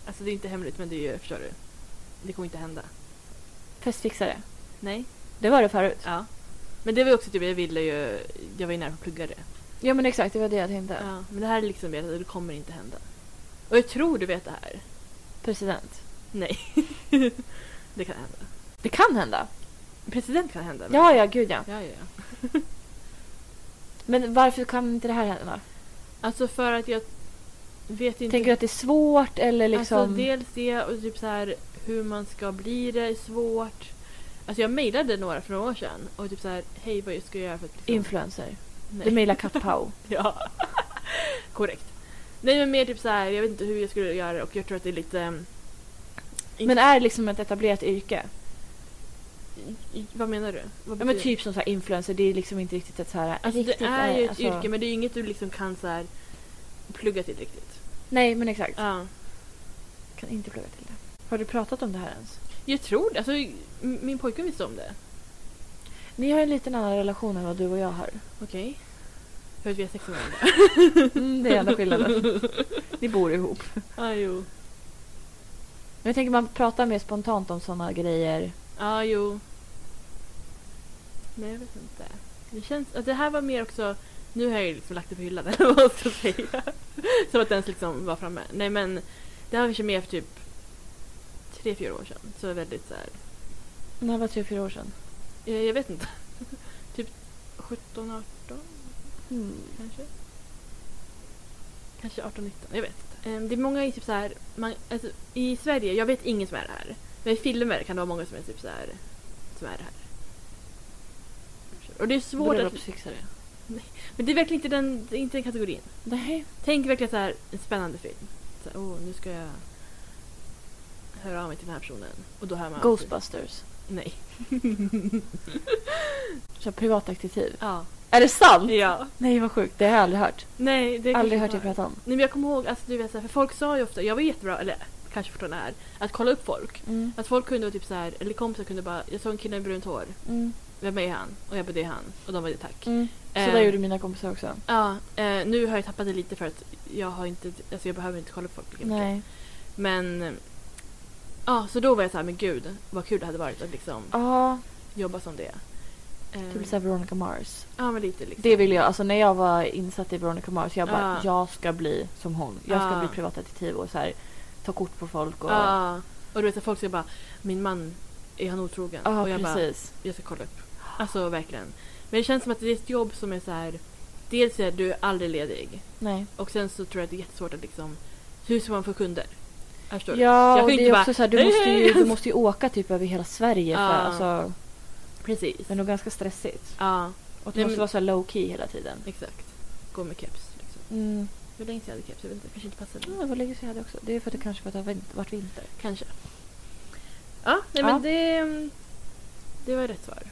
Alltså det är inte hemligt men det är ju, förstår du. Det kommer inte hända. Festfixare. Nej. Det var det förut. Ja. Men det var ju också typ, jag ville ju, jag var ju nära på att plugga det. Ja men exakt, det var det jag tänkte. Ja. Men det här är liksom, vet att det kommer inte hända. Och jag tror du vet det här. President. Nej. det kan hända. Det kan hända. President kan hända. men- Ja, ja, gud ja. Ja, ja, ja. Men varför kan inte det här hända? Alltså för att jag vet inte. Tänker du att det är svårt eller liksom... Alltså dels det och typ så här hur man ska bli det är svårt. Alltså jag mejlade några för några år sedan och typ så här hej vad ska jag göra för att liksom... Influencer. Nej. Du mejlar Kattpau. Ja. Korrekt. Nej men mer typ så här, jag vet inte hur jag skulle göra och jag tror att det är lite... ehm, men är det liksom ett etablerat yrke? i- Vad menar du? Vad Ja men betyder- typ som så här influencer, det är liksom inte riktigt ett så här... Alltså riktigt, det är ju ett alltså- yrke men det är ju inget du liksom kan så här plugga till riktigt. Nej men exakt. Ja. Kan inte plugga till det. Har du pratat om det här ens? Jag tror det. Alltså m- min pojkvän visste om det. Ni har en liten annan relation än vad du och jag har. Okej. För att vi är sex månader. Mm, det är enda skillnaden. Ni bor ihop. Ah, jo. Men jag tänker man pratar mer spontant om sådana grejer. Ja, jo. Men jag vet inte. Det känns... Att det här var mer också... Nu har jag ju liksom lagt det på hyllan, eller vad jag ska säga. Som att den liksom var framme. Nej men, det här var kanske mer för typ tre, fyra år sedan. Så väldigt så här... När var tre, fyra år sedan? Jag, jag vet inte. typ 17, 18 Mm. kanske? Kanske 18, 19, jag vet inte. Ehm, Det är många i typ så här, man, alltså, i Sverige, jag vet ingen som är det här. Men i filmer kan det vara många som är typ så här, som är det här. Och det är svårt att... Bröllopsfixare. Men det är verkligen inte den, det är inte den kategorin. Nej. Tänk verkligen så här, en spännande film. Så här, oh, nu ska jag höra av mig till den här personen. Och då hör man... Ghostbusters. Nej. Så privatdetektiv. Ja. Är det sant? ja. Nej vad sjukt, det har jag aldrig hört. Nej, det aldrig kanske hört var- dig prata om. Nej men jag kommer ihåg, alltså, du vet, så här, för folk sa ju ofta, jag var jättebra, eller kanske fortfarande är, att kolla upp folk. Mm. Att folk kunde vara typ så här, eller kompisar kunde bara, jag såg en kille med brunt hår, Mm. vem är han? Och jag bara det är han. Och de var det tack. Mm. Så Eh, där gjorde mina kompisar också. Ja, eh, nu har jag tappat det lite för att jag har inte, alltså jag behöver inte kolla upp folk lika mycket. Nej. Men, eh, ja så då var jag så här, men gud vad kul det hade varit att liksom Ja, jobba som det. Eh, Ah, typ såhär Veronica Mars. Ja men lite liksom. Det ville jag, alltså när jag var insatt i Veronica Mars, jag bara Ah. jag ska bli som hon. Jag ska Ah. bli privatdetektiv och så här, ta kort på folk och... Ja, Ja. Och du vet att folk säger bara, min man, är han otrogen? och jag bara, Ah, precis. jag ska kolla upp. Alltså verkligen. Men det känns som att det är ett jobb som är så här. Dels är du aldrig ledig Nej. och sen så tror jag att det är jättesvårt att liksom... Hur ska man få kunder? Jag förstår. Ja, Jag och kan det inte är bara, också så här, du, "Hej, måste ju, hej." du måste ju åka typ över hela Sverige för Ah. alltså, Precis. det är nog ganska stressigt. Ja, Och det Nej, måste men- vara så här low key hela tiden. exakt. Gå med keps. Liksom. Mm. Hur länge sedan jag hade keps? Jag vet inte, kanske inte passade. Ja, det var länge sedan jag hade också. Det är för att det kanske för att det har vin- varit vinter. Kanske. Ja, nej men det... Det var rätt svar.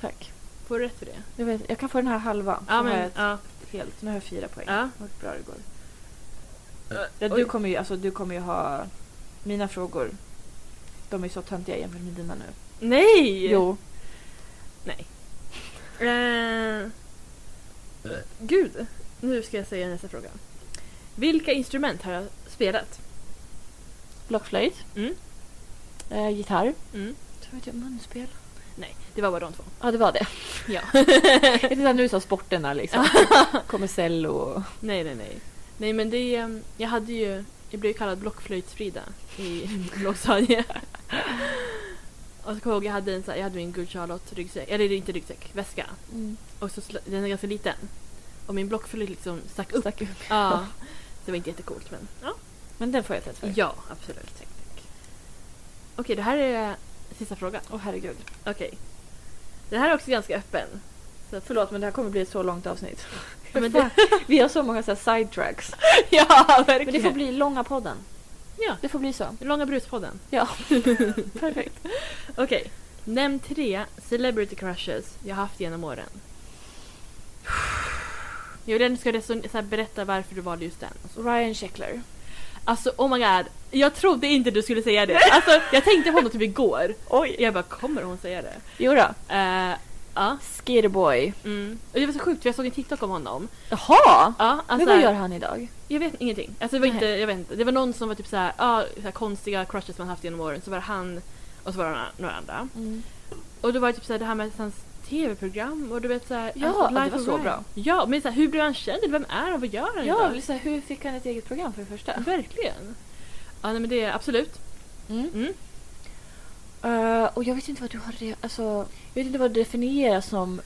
Tack. Får du rätt för det? Jag, vet, jag kan få den här halva. Ja, Nu har jag men... ett Ja. helt. Nu har jag fyra poäng. ja. Vad bra det går. Ja, Oj. du, kommer ju, alltså, du kommer ju ha... Mina frågor, de är så töntiga jämfört med dina nu. Nej! Jo. Nej. Eh, gud, nu ska jag säga nästa fråga. Vilka instrument har jag spelat? Blockflöjt. Mm. Eh, gitarr. Mm. Tror jag munspel. Nej, det var bara de två. Ja, det var det. Ja. Det är där nu som sporterna liksom. Kommer cello och... nej, nej, nej. Nej, men det... eh, Jag hade ju... Jag blev ju kallad blockflöjtsfrida i lågstadiet. Och så kommer jag ihåg, jag hade, en, så här- jag hade min Good Charlotte-ryggsäck. Eller inte ryggsäck, väska. Mm. Och så, sl- den är ganska liten. Och min blockflöjt liksom stack upp. Stack upp. Ja. Så det var inte jättecoolt, men ja. Men den får jag ett rätt för. Ja, absolut. Tack, tack. Okej, det här är sista frågan. Åh herregud. Okej. Det här är också ganska öppen. Så att, Förlåt men det här kommer bli ett så långt avsnitt. Men det, Vi har så många så här sidetracks. ja, Men det får bli långa podden. Ja. Det får bli så. Långa bruspodden. Ja. Perfekt. Okej. Nämn tre celebrity crushes jag haft genom åren. Jag vill att du ska reson- så här, berätta varför du valde just den. Ryan Sheckler. Alltså oh my god, jag trodde inte du skulle säga det. Alltså, jag tänkte på honom typ igår. Oj. Jag bara, kommer hon säga det? Jo då. Eh, ja. Skidboy. Mm. Och det var så sjukt för jag såg en TikTok om honom. Jaha! Ja, alltså, Men vad gör han idag? Jag vet ingenting. Alltså, det, var Nej. inte, jag vet inte. det var någon som var typ såhär, ja, så här konstiga crushes man haft genom åren. Så var det han och så var det några- några andra. Mm. Och då var det typ såhär, det här med hans tv-program och du vet såhär... Ja, alltså, det Life var of så Ryan. bra. Ja, men såhär, hur blev han känd? Vem är han? Vad gör han Ja, idag? liksom, hur fick han ett eget program för det första? Verkligen. Ja, nej, men det är absolut. Mm. Eh, och jag vet inte vad du har... Re- alltså, jag vet inte vad det definieras som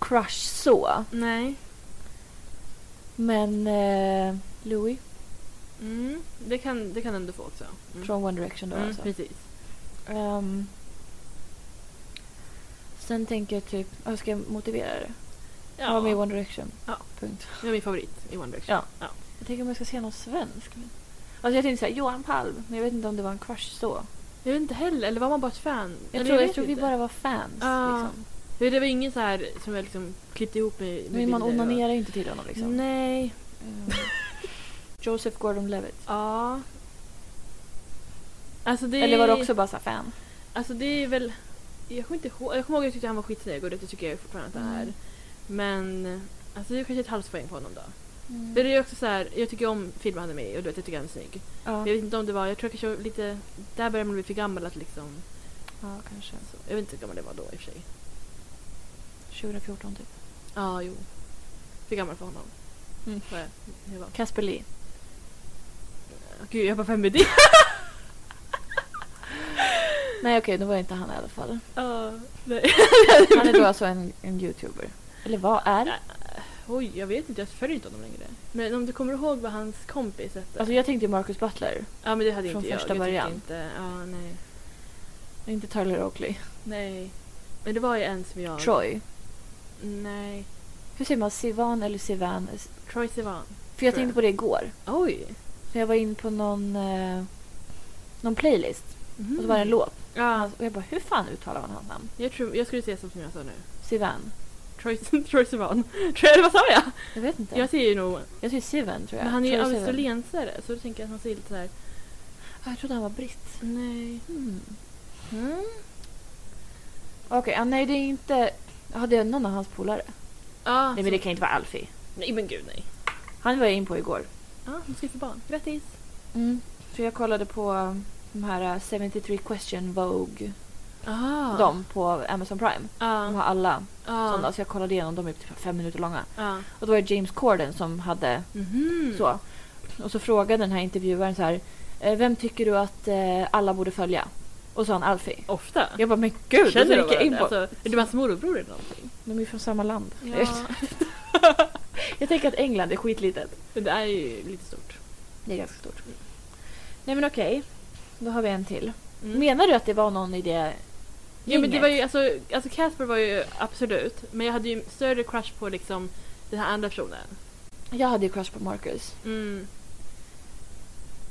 crush så. Nej. Men eh, Louis Mm. Det kan, det kan ändå få också. Mm. från One Direction då mm, alltså. Precis. Ehm, sen tänker jag typ... Hur ska jag motivera det? Han var med i One Direction. Ja. Punkt. det var min favorit i One Direction. Ja. Jag tänker om jag ska se någon svensk. Alltså jag tänkte säga Johan Palm, men jag vet inte om det var en crush så. Jag vet inte heller, eller var man bara ett fan? Jag Eller tror, jag vet tror vi inte. bara var fans. Ja. Liksom. För det var ingen så här som jag liksom klippte ihop med, med Men man bilder och- onanerar ju inte till honom liksom. Nej. Ehm, Joseph Gordon-Levitt. Ja. Alltså det... Eller var du också bara så här fan? Alltså det är väl... Jag kommer inte ihåg. Jag kommer ihåg att jag tyckte han var skitsnygg och det tycker jag fortfarande att han är. Mm. Men Alltså det är kanske ett halvt poäng på honom då. Mm. För det är ju också så här, jag tycker om filmen han är med i och du vet, jag tycker han är snygg. Ja, Jag vet inte om det var, jag tror kanske lite, där börjar man bli för gammal att liksom, ja kanske. så, jag vet inte hur gammal det var då i och för sig. 2014 typ. Ja, jo. För gammal för honom. Mm. Var jag, jag var. Casper Lee. Gud, jag bara, vem är det? Nej okej, då var inte han i alla fall. Ja, nej. Han är då alltså en, en youtuber. Eller vad är? Oj, jag vet inte, jag följer inte honom längre. Men om du kommer ihåg vad hans kompis hette? Alltså jag tänkte ju Marcus Butler. ja, men det hade från inte jag. första jag tyckte början. Inte, ja, nej. Inte Tyler Oakley. nej. Men det var ju en som jag... Troy. Nej. Hur säger man? Sivan eller Sivan? Troy Sivan. För jag Tror tänkte jag. på det igår. Oj! För jag var in på någon, eh, någon playlist. Mhm. Och så var det en låt. Ja, Och jag bara, hur fan uttalar man hans namn? jag, tror, jag skulle säga som jag sa nu. Sivan? Troy, Troy Sivan. Tror jag, vad sa jag? Jag vet inte. Jag Jag, säger ju nog... säger Sivan tror jag. Men han är ju Troy Sivan. australiensare så då tänker jag att han säger lite såhär... Ah, Jag trodde han var britt. Nej. Mm. Okej, ah, nej det är inte... Ja, det är någon av hans polare. Ja, nej men det kan Ah. inte vara Alfie. Ah, nej men gud nej. Han var jag in på igår. Ja, hon ska få barn. Grattis! Mm. För jag kollade på de här eh, 73 question Vogue. Ah. De på Amazon Prime. De Ja. har alla Ja. sådana. Så jag kollade igenom dem i typ fem minuter långa. Ja. Och då var det James Corden som hade Mhm. så. Och så frågade den här intervjuaren så här. "Eh, Vem tycker du att eh, alla borde följa? Och så sa han Alfie. Ofta? Jag bara men gud, Känner då du gick jag in varandra? på. Alltså, är du hans morbror eller någonting? De är ju från samma land. Ja. jag tänker att England är skitlitet. Men Det är ju lite stort. Det är ganska stort. Nej men okej. Då har vi en till. Mm. Menar du att det var någon i det Ja, men det gänget? var ju, alltså, alltså Casper var ju absolut, men jag hade ju större crush på liksom den här andra personen. Jag hade ju crush på Marcus. Mm.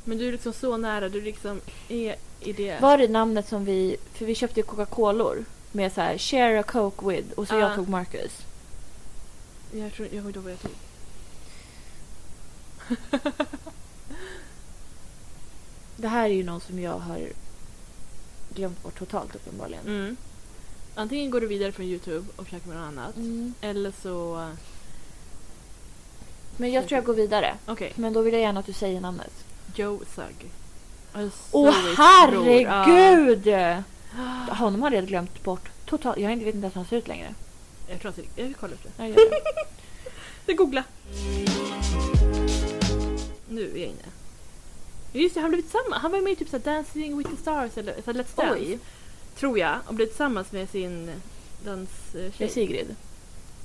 Men du är liksom så nära, du liksom är i det. Var det namnet som vi... För vi köpte ju Coca-Color med så här share a coke with och så Ah. jag tog Marcus. Jag tror jag kommer inte ihåg vad jag tog. Det här är ju någon som jag har glömt bort totalt uppenbarligen. Mm. Antingen går du vidare från Youtube och försöker med något annat. Mm. Eller så... Men jag tror jag går vidare. Okej. Men då vill jag gärna att du säger namnet. Joe Sugg. Alltså, Åh Zoes bror. Ja. herregud! Honom har jag redan glömt bort totalt. Jag vet inte ens hur han ser ut längre. Jag tror att det- jag kollar upp det. Jag gör det. Jag googla. Nu är jag inne. Just det, han blev tillsammans. Han var med i typ så här Dancing with the stars eller så här Let's Dance. Oj, Tror jag. Och blev tillsammans med sin eh, danstjej. det är Sigrid.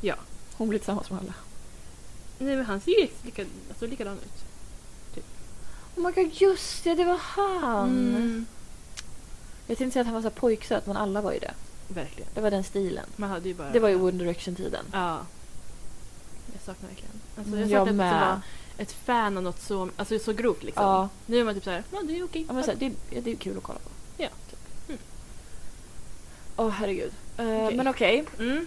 Ja. Hon blir tillsammans med alla. Nej men han ser ju ex- lika, alltså, likadan ut. Oh my god, just det, det var han! Mm. Mm. Jag tänkte säga att han var så här pojksöt, men alla var ju det. Verkligen. Det var den stilen. Man hade ju bara... Det var ju One Direction-tiden. Ja. Jag saknar verkligen. Alltså, Mm, jag jag saknar att med. vara ett fan av något så, alltså, så grovt liksom. Ja. Nu är man typ såhär, ja det är okej. Ja, men så här, det, ja, det är kul att kolla på. Ja. Typ. Mm. Åh herregud. Eh, Okej. Men okej. Mm.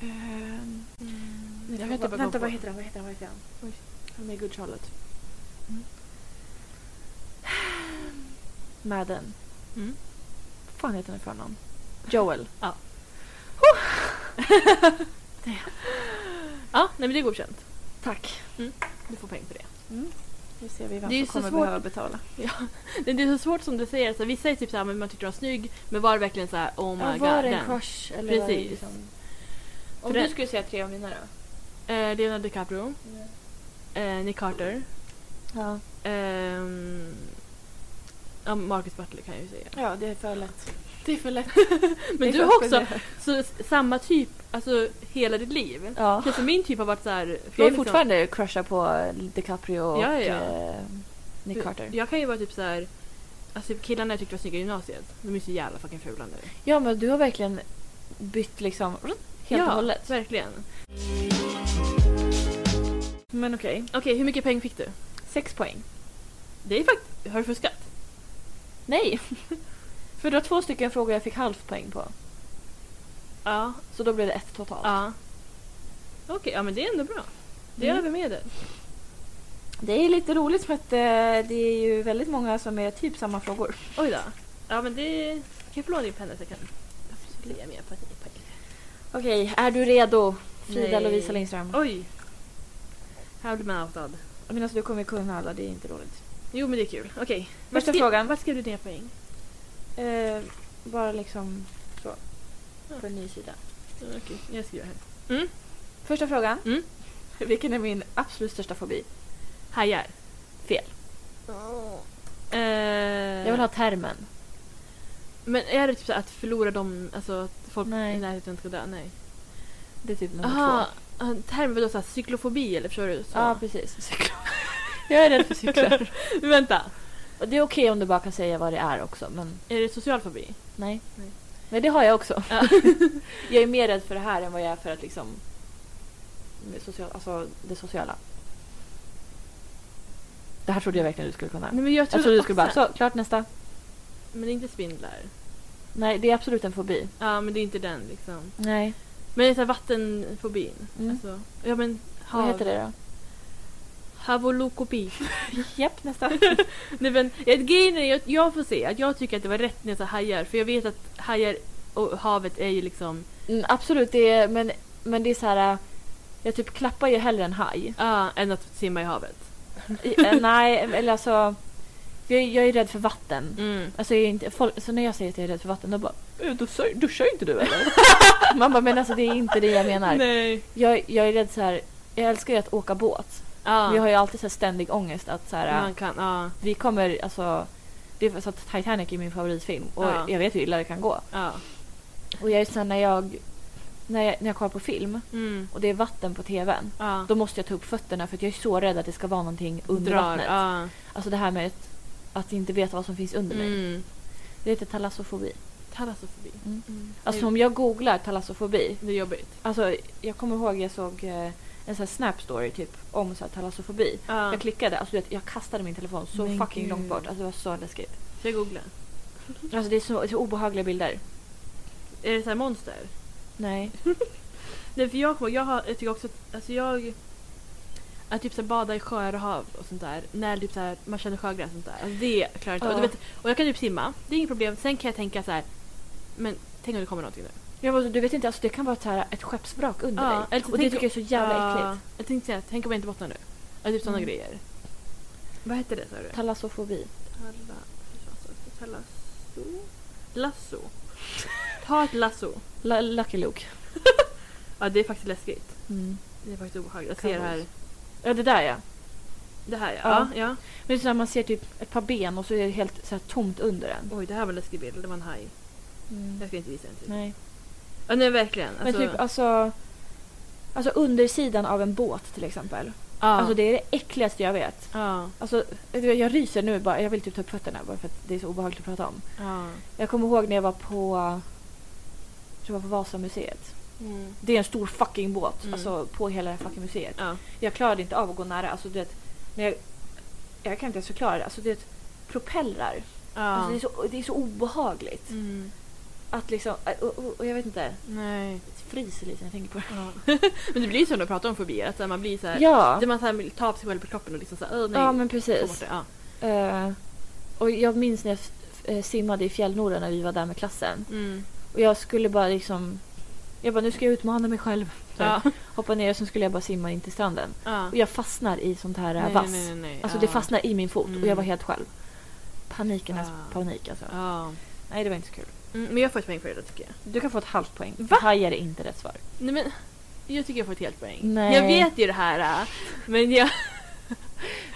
Eh, mm. Jag Jag typ vet bara inte- gå på. Vänta, vad heter han? Vad heter han? Vad heter han? Oj. Han är med i Good Charlotte. Mm. Madden. Mm. Vad fan heter han i förnamn? Joel. Ja, nej men det är godkänt. Mm. Tack. Du får poäng för det. nu ser vi vem Det är ju som så kommer svårt. behöva betala. Det- Det är så svårt som du säger, så här, vissa är typ såhär, men man tyckte de var snygg, men var det verkligen såhär, oh my Ja, god. var det en den? crush eller var det Precis. liksom... För det- skulle säga tre av mina då? Eh, Leonardo DiCaprio, eh, Nick Carter, Ja. ehm, ja, Marcus Butler kan jag ju säga. Ja, det är för lätt. Det är för lätt. Men du har också så, s- samma typ, alltså hela ditt liv. Ja. Alltså, min typ har varit såhär... Jag från är liksom- fortfarande crushar på DiCaprio och Ja, ja, ja. eh, Nick Carter. Jag kan ju vara typ såhär, alltså killarna jag tyckte var snygga i gymnasiet, de är så jävla fucking fula nu. Ja, men du har verkligen bytt liksom helt ja, och hållet. verkligen. Men okej. Okej, hur mycket pengar fick du? Sex poäng. Det är faktiskt... Har du fuskat? Nej! För det var två stycken frågor jag fick halvt poäng på. Ja. Så då blev det ett totalt. Ja. Okej, ja men det är ändå bra. Det är Mm. över medel. Det är lite roligt för att eh, det är ju väldigt många som är typ samma frågor. Oj då. Ja men det... Kan jag få låna din penna så jag kan lägga mer på att ni är poäng? Okej, är du redo? Frida Nej. Lovisa Lindström. Oj! Här blir man outad. Men alltså, du kommer ju kunna alla, det är inte roligt. Jo men det är kul. Okej. Vart Första skri- frågan. Vart skrev du dina poäng? Eh, bara liksom så. Ja. På en ny sida. Okej, jag skriver här. Första frågan. Mm. Vilken är min absolut största fobi? Hajar. Fel. Eh, Jag vill ha termen. Men är det typ så att förlora dem, alltså att folk Nej. i närheten ska dö? Nej. Det är typ nummer Jaha, två. termen vadå? så här Cyklofobi eller förstår du? Så. Ja, precis. Cyklar. Jag är rädd för cyklar. Vänta, Och det är okej om du bara kan säga vad det är också, men är det social fobi? nej. Nej. Men det har jag också. Jag är mer rädd för det här än vad jag är för att liksom... med Social, alltså det sociala. Det här trodde jag verkligen du skulle kunna. Nej, men jag Jag trodde, trodde du skulle bara, också- så, klart nästa. Men det är inte spindlar. Nej, det är absolut en fobi. Ja, men det är inte den liksom. Nej. Men det är så här vattenfobin. Mm. Alltså, ja men hav. Vad heter det då? Havolokopi. Japp, nästa. Nej men jag- grejen är att jag får se att jag tycker att det var rätt när jag sa hajar. För jag vet att hajar och havet är ju liksom... Mm, absolut, det är, men, men det är så här... äh, Jag typ klappar ju hellre en haj. Ja, än att simma i havet. I- äh, nej, eller alltså... Jag, är- jag är rädd för vatten. Mm. Alltså, jag är inte, folk, så när jag säger att jag är rädd för vatten, då bara "Eh, då sö- duschar inte du eller? Man bara, men alltså det är inte det jag menar. Nej. Jag, jag är rädd så här, jag älskar ju att åka båt. Ja, Men jag har ju alltid så här ständig ångest att så här, man kan. Ja, vi kommer, alltså, det är så att Titanic är min favoritfilm och Ja. jag vet hur illa det kan gå. ja. Och jag är såhär när jag, när jag, när jag kollar på film Mm. och det är vatten på tvn, Ja. då måste jag ta upp fötterna för att jag är så rädd att det ska vara någonting under vattnet. Ja. Alltså det här med att, att inte veta vad som finns under mig. Mm. Det heter talassofobi. Talassofobi. Mm. Mm. Alltså om jag googlar talassofobi, det är jobbigt. alltså jag kommer ihåg jag såg eh, en sån här snap story typ om så här talassofobi. Ja. Jag klickade, alltså du vet, jag kastade min telefon så Men fucking gud. långt bort. Alltså det var så läskigt. Ska jag googla? Alltså det är så, så obehagliga bilder. Är det så här monster? Nej. Nej, för jag, kommer ihåg- jag, har, jag tycker också att, alltså jag... Att typ så här bada i sjöar och hav och sånt där. När typ så här, man känner sjögräs och sånt där. Alltså det klarar jag inte av. Ja. Du vet, Och jag kan typ simma. Det är inget problem. Sen kan jag tänka så här. Men tänk om det kommer någonting nu. Jag bara, du vet inte, alltså det kan vara ett, så här, ett skeppsvrak under Ja, dig. eller så Och det tänk- tycker jag är så jävla Ja, äckligt. Jag tänkte säga, tänk om jag inte bottnar nu. Ja, typ sådana Mm. grejer. Vad hette det sa du? Talassofobi. Talla... Talasso? Lasso? Ta ett lasso. La, Lucky Luke. Ja, det är faktiskt läskigt. Mm. Det är faktiskt obehagligt. Jag Kan ser vara här. Ja, det där ja. Det här ja. Ja. ja. ja. Men det är så här, man ser typ ett par ben och så är det helt så här, tomt under den. Oj, det här var en läskig bild. Det var en haj. Mm, Jag ska inte visa den till. Nej. Nej. Ja, nej, verkligen. Men Alltså, typ alltså... Alltså undersidan av en båt till exempel. ja. Alltså det är det äckligaste jag vet. ja. Alltså, jag jag ryser nu bara. Jag vill typ ta upp fötterna bara för att det är så obehagligt att prata om. ja. Jag kommer ihåg när jag var på... Jag tror jag var på Vasamuseet. Mm. Det är en stor fucking båt. Mm. Alltså på hela det här fucking museet. Ja. Jag klarade inte av att gå nära. Alltså du vet... När jag, jag kan inte ens förklara det. Alltså du vet... Propellrar. ja. Alltså, det, är så, det är så obehagligt. mm. Att liksom... Och, och, och jag vet inte. Nej. Jag fryser lite när jag tänker på det. Ja. men det blir ju så när man pratar om fobier. Att så här, man blir så här... Ja. Det man så här, vill ta på sig själv på kroppen och liksom såhär, nej. Ja men Få precis. bort det. Ja. Eh, och jag minns när jag f- eh, simmade i Fjällnora när vi var där med klassen. Mm. Och jag skulle bara liksom... Jag bara, nu ska jag utmana mig själv. Så Ja. Hoppa ner och sen skulle jag bara simma in till stranden. Ja. Och jag fastnar i sånt här eh, Nej, vass. nej, nej, nej. Alltså ja. det fastnar i min fot och jag var Mm. helt själv. Panikernas Ja. panik alltså. Ja. Nej, det var inte så kul. Mm, men jag får ett poäng för det då, tycker jag. Du kan få ett halvt poäng. Va? Hajar är inte rätt svar. Nej men, jag tycker jag får ett helt poäng. Nej. Jag vet ju det här äh, men jag...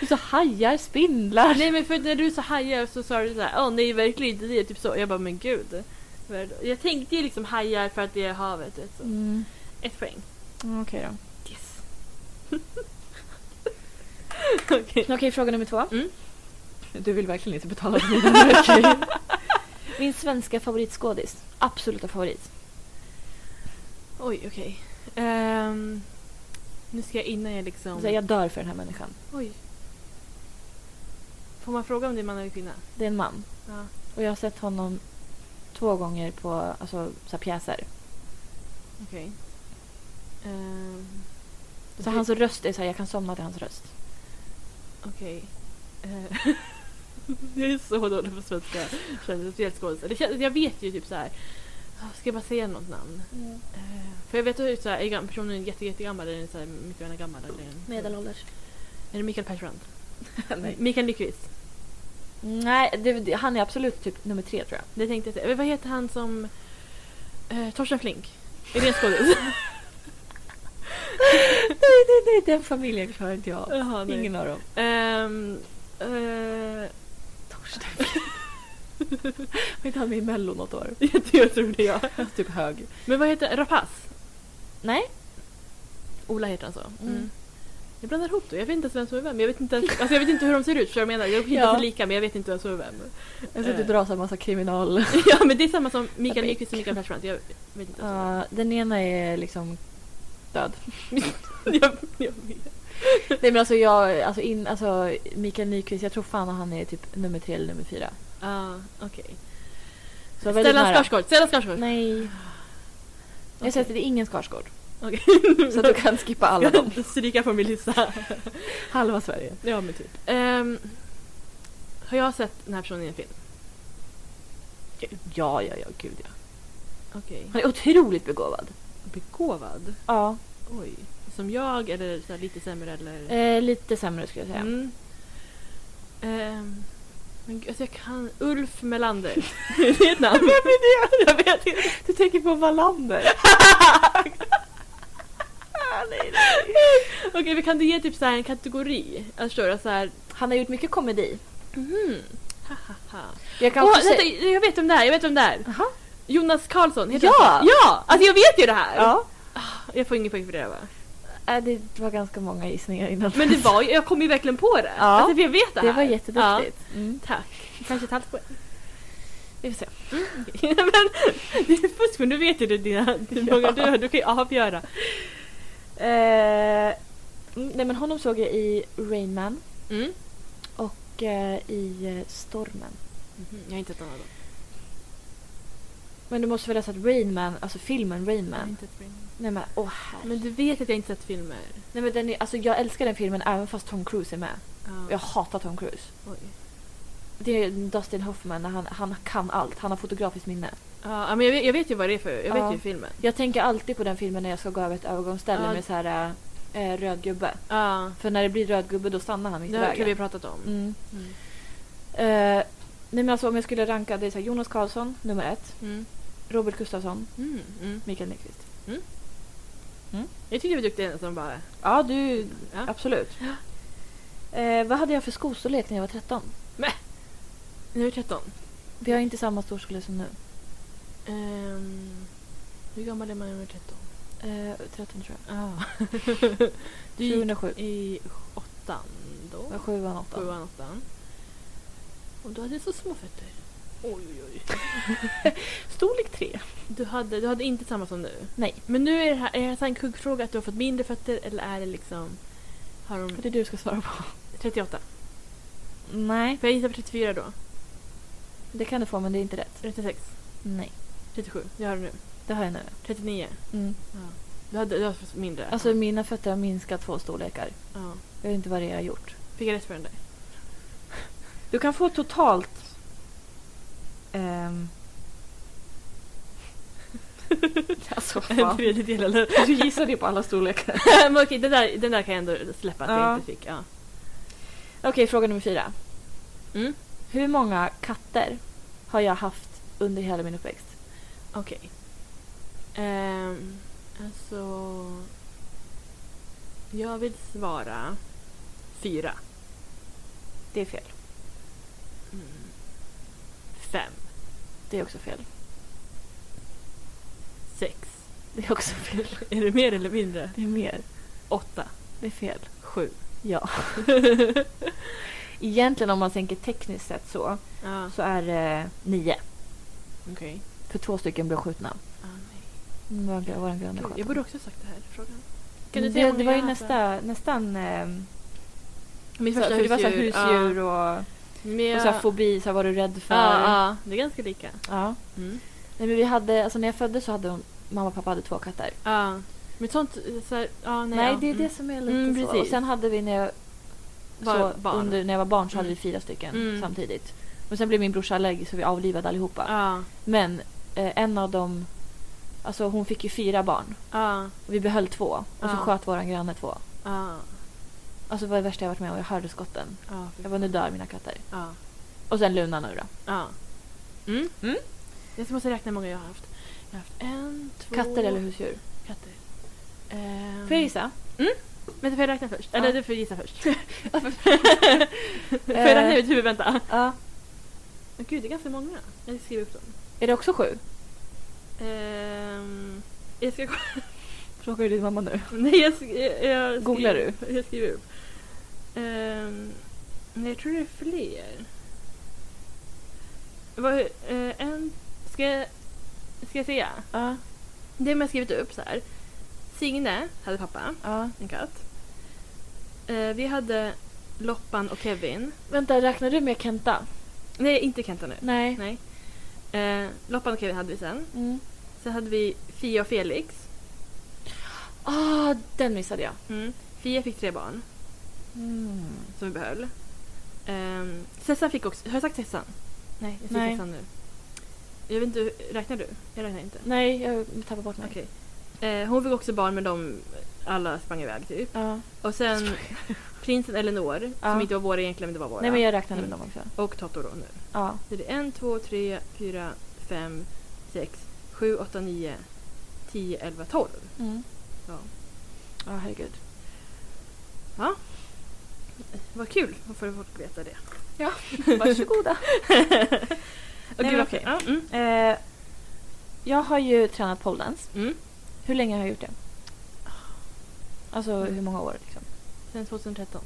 Du sa hajar, spindlar. Nej men för när du sa hajar så sa du så här, åh nej verkligen inte det, typ så. Jag bara, men gud. Vad är det då? Jag tänkte ju liksom hajar för att det är havet. Ett, så. Mm. ett poäng. Mm, Okej då. Yes. Okej. Okej, fråga nummer två. Mm. Du vill verkligen inte betala för mina böcker. Min svenska favoritskådis. Absoluta favorit. Oj, okej. Ehm, nu ska jag innan jag liksom... Så jag dör för den här människan. Oj. Får man fråga om det är man eller kvinna? Det är en man. Ja. Och jag har sett honom två gånger på alltså, så här pjäser. Okej. Ehm, Så hans röst är så här, jag kan somna till hans röst. Okej. Eh, jag är så dålig på svenska kändisspelskådisar. Jag vet ju typ så här. Ska jag bara säga något namn? Eh, För jag vet hur så här, är gam- personen är jätte, jättegammal eller är den så här, mycket gärna gammal? Eller, är den- Medelålders. Mm. Är det Mikael Persbrandt? Nej. Mikael Nyqvist. Nej, det, det, han är absolut typ nummer tre tror jag. Det tänkte jag säga. Eh, Vad heter han som... Eh, Torsten Flink. Är det en skådis? nej, nej, nej, den familjen klarar inte jag av. Jaha, nej. Ingen av dem. Ehm, eh, Torsten. Var inte han med i Mello något år? jag tror det ja. typ hög. Men vad heter Rapace? Nej. Ola heter han så? Mm. Jag blandar ihop det. Jag vet inte ens vem som är vem. Jag vet inte, ens, alltså jag vet inte hur de ser ut, för jag menar. Jag hittar Ja. så lika, men jag vet inte vem som är vem. Jag ska inte Eh. dra så här massa kriminal... ja, men det är samma som Mikael Epic. Nyqvist och Mikael Persbrandt. Jag vet inte. ens Ja, den ena är liksom död. vem. jag, jag vet. Nej men alltså jag, alltså, in, alltså Mikael Nyqvist, jag tror fan att han är typ nummer tre eller nummer fyra. Ah, okej. Så väldigt Stellan nära. Skarsgård! Stellan Skarsgård! Nej. Okej. Jag säger att det är ingen Skarsgård. Okej. Så att du kan skippa alla dem. Stryka från min lista. Halva Sverige. ja, men typ. Ehm, har jag sett den här personen i en film? Ja, ja, ja, gud ja. Okej. Han är otroligt begåvad. Begåvad? Ja. Oj. Som jag eller så här, lite sämre eller? Eh, lite sämre skulle jag säga. Mm. Ehm, men gud, alltså jag kan... Ulf Melander. det är ett namn. Jag vet inte. Du tänker på Wallander. Okej, vi kan du ge typ så här en kategori? Alltså, förstår du? Så här... Han har gjort mycket komedi. Mhm. Ha, ha, ha. Jag kan Åh, också vänta, säga... jag vet vem det är, jag vet vem det är! Aha. Jonas Karlsson heter Ja! han så? Ja! Alltså jag vet ju det här! Ah, Ja. Jag får ingen poäng för det va? Eh, Det var ganska många gissningar innan. Men det var ju, jag kom ju verkligen på det! Ja. Alltså för jag vet det här! Det var jätteduktigt. Mm. Ja, tack. Kanske ett halvt poäng. Vi får se. Mm. men, det är fusk men du vet ju det dina, hur många du har, du kan ju avgöra. Eh, mm, nej men honom såg jag i Rain Man Mm. och eh, i eh, Stormen. Mhm, Jag har inte ett annat. Men du måste väl ha sett Rain Man, alltså filmen Rain Man? Nej men åh herregud. Men du vet att jag inte sett filmer? Nej men den är, alltså jag älskar den filmen även fast Tom Cruise är med. Ja. Jag hatar Tom Cruise. Oj. Det är Dustin Hoffman, när han, han kan allt. Han har fotografiskt minne. Ja, men jag vet, jag vet ju vad det är för, jag Ja. vet ju filmen. Jag tänker alltid på den filmen när jag ska gå över ett övergångsställe Ja. med så här eh, röd gubbe. Ja. För när det blir röd gubbe då stannar han mitt i Det har vi vägen. pratat om. Mm. Mm. Eh, nej men alltså om jag skulle ranka, det är så här, Jonas Karlsson nummer ett. Mm. Robert Gustafsson, Mm. Mm. Mikael Nyqvist. Jag tyckte du var duktig ändå som bara... Ja, du... Ja. Absolut. Eh, vad hade jag för skostorlek när jag var 13? Nu är jag 13. Vi har inte samma storstorlek som nu. Ehm, hur gammal är man när man är 13? Eh, 13 tror Ah. du jag. gick 2007. i åttan då? Var sjuan, åttan. Sjuan, åttan. Och du hade så små fötter. Oj, oj, oj. Storlek tre. Du hade, du hade inte samma som nu? Nej. Men nu är det här, är det här så här en kuggfråga att du har fått mindre fötter eller är det liksom... Har de Det är du ska svara på. 38? Nej. För jag gissar på 34 då. Det kan du få men det är inte rätt. 36? Nej. 37? Jag har det nu. Det har jag nu. 39? Mm. Du hade, du har fått mindre? Alltså mina fötter har minskat två storlekar. ja. Jag vet inte vad det är jag har gjort. Fick jag rätt för den där? Du kan få totalt... Ehm... alltså En fan. tredjedel eller? Du gissade ju på alla storlekar. Men okej, den där, den där kan jag ändå släppa att Ja. jag inte fick. Ja. Okej, fråga nummer fyra. Mm. Hur många katter har jag haft under hela min uppväxt? Okej. Ehm, alltså... Jag vill svara fyra. Det är fel. Mm. Fem. Det är också fel. Sex. Det är också fel. Är det mer eller mindre? Det är mer. Åtta. Det är fel. Sju. Ja. Egentligen om man tänker tekniskt sett så, Ja, så är det nio. okej. För två stycken blev skjutna. Ah, nej. Mm, Vår, vår granne Gud, sköt jag dem. borde också ha sagt det här i frågan. Kan du Men säga det, hur det många var ju jag har haft? nästa, nästan... ehm, Mitt så, första för det var så här husdjur. ja. husdjur och, Men jag- och så här fobi, så här, vad du rädd för. Ja, ja, det är ganska lika. Ja. Mm. Nej, men vi hade, alltså, när jag föddes så hade hon, mamma och pappa hade två katter. Ja. Men sånt... Så här, ja, nej, Nej, ja. det är Mm. det som är lite Mm, så. precis. Och sen hade vi när jag Var så, barn. Under, när jag var barn så hade Mm. vi fyra stycken Mm. samtidigt. Men sen blev min brorsa allergisk så vi avlivade allihopa. Ja. Men eh, en av dem... Alltså hon fick ju fyra barn. Ja, Och vi behöll två. Och Ja. så sköt våran granne två. ja, Alltså det var det värsta jag varit med om. Jag hörde skotten. ja. fy Jag var nu dör mina katter. Ja. Och sen Luna nu då. ja. Mm. Mm. Jag måste räkna hur många jag har haft. Jag har haft en, två... Katter eller husdjur? Katter. Ehm, Får jag gissa? Vänta, får jag räkna först? Ja. Eller du får gissa först. får jag räkna Eh. ut huvud? Vänta. Ja. Men Gud, det är ganska många. Jag skriver upp dem. Är det också sju? Ehm, jag ska... Frågar du din mamma nu? Nej, jag, sk- jag, jag Googlar skriver, du? Jag skriver upp. Ehm, nej, jag tror det är fler. Vad, eh, en... Ska jag, ska jag säga? Ja. Det har jag skrivit upp så här. Signe hade pappa, ja. en katt. Eh, vi hade Loppan och Kevin. Vänta, räknar du med Kenta? Nej, inte Kenta nu. Nej. Nej. Eh, Loppan och Kevin hade vi sen. Mm. Sen hade vi Fia och Felix. Ah, den missade jag. Mm. Fia fick tre barn Mm. som vi behöll. Um, Sessan fick också... Har jag sagt Sessan? Nej, jag säger Nej. Sessan nu. Jag vet inte, hur- räknar du? Jag räknar inte. Nej, jag tappade bort mig. Okej. Eh, hon fick också barn men de alla sprang iväg typ. Ja. Och sen prinsen Eleanor, som Ja. inte var våra egentligen men det var våra. Nej, men jag räknade med Mm. dem också. Och Toto då nu. Ja. Så det är en, två, tre, fyra, fem, sex, sju, åtta, nio, tio, elva, tolv. Mm. Ja. Ja, herregud. Vad kul att få folk veta det. Varsågoda. Och Nej, gud, men okej. okej. Ja, mm. eh, jag har ju tränat poledance. Mm. Hur länge har jag gjort det? Alltså hur många år liksom? Sen 2013.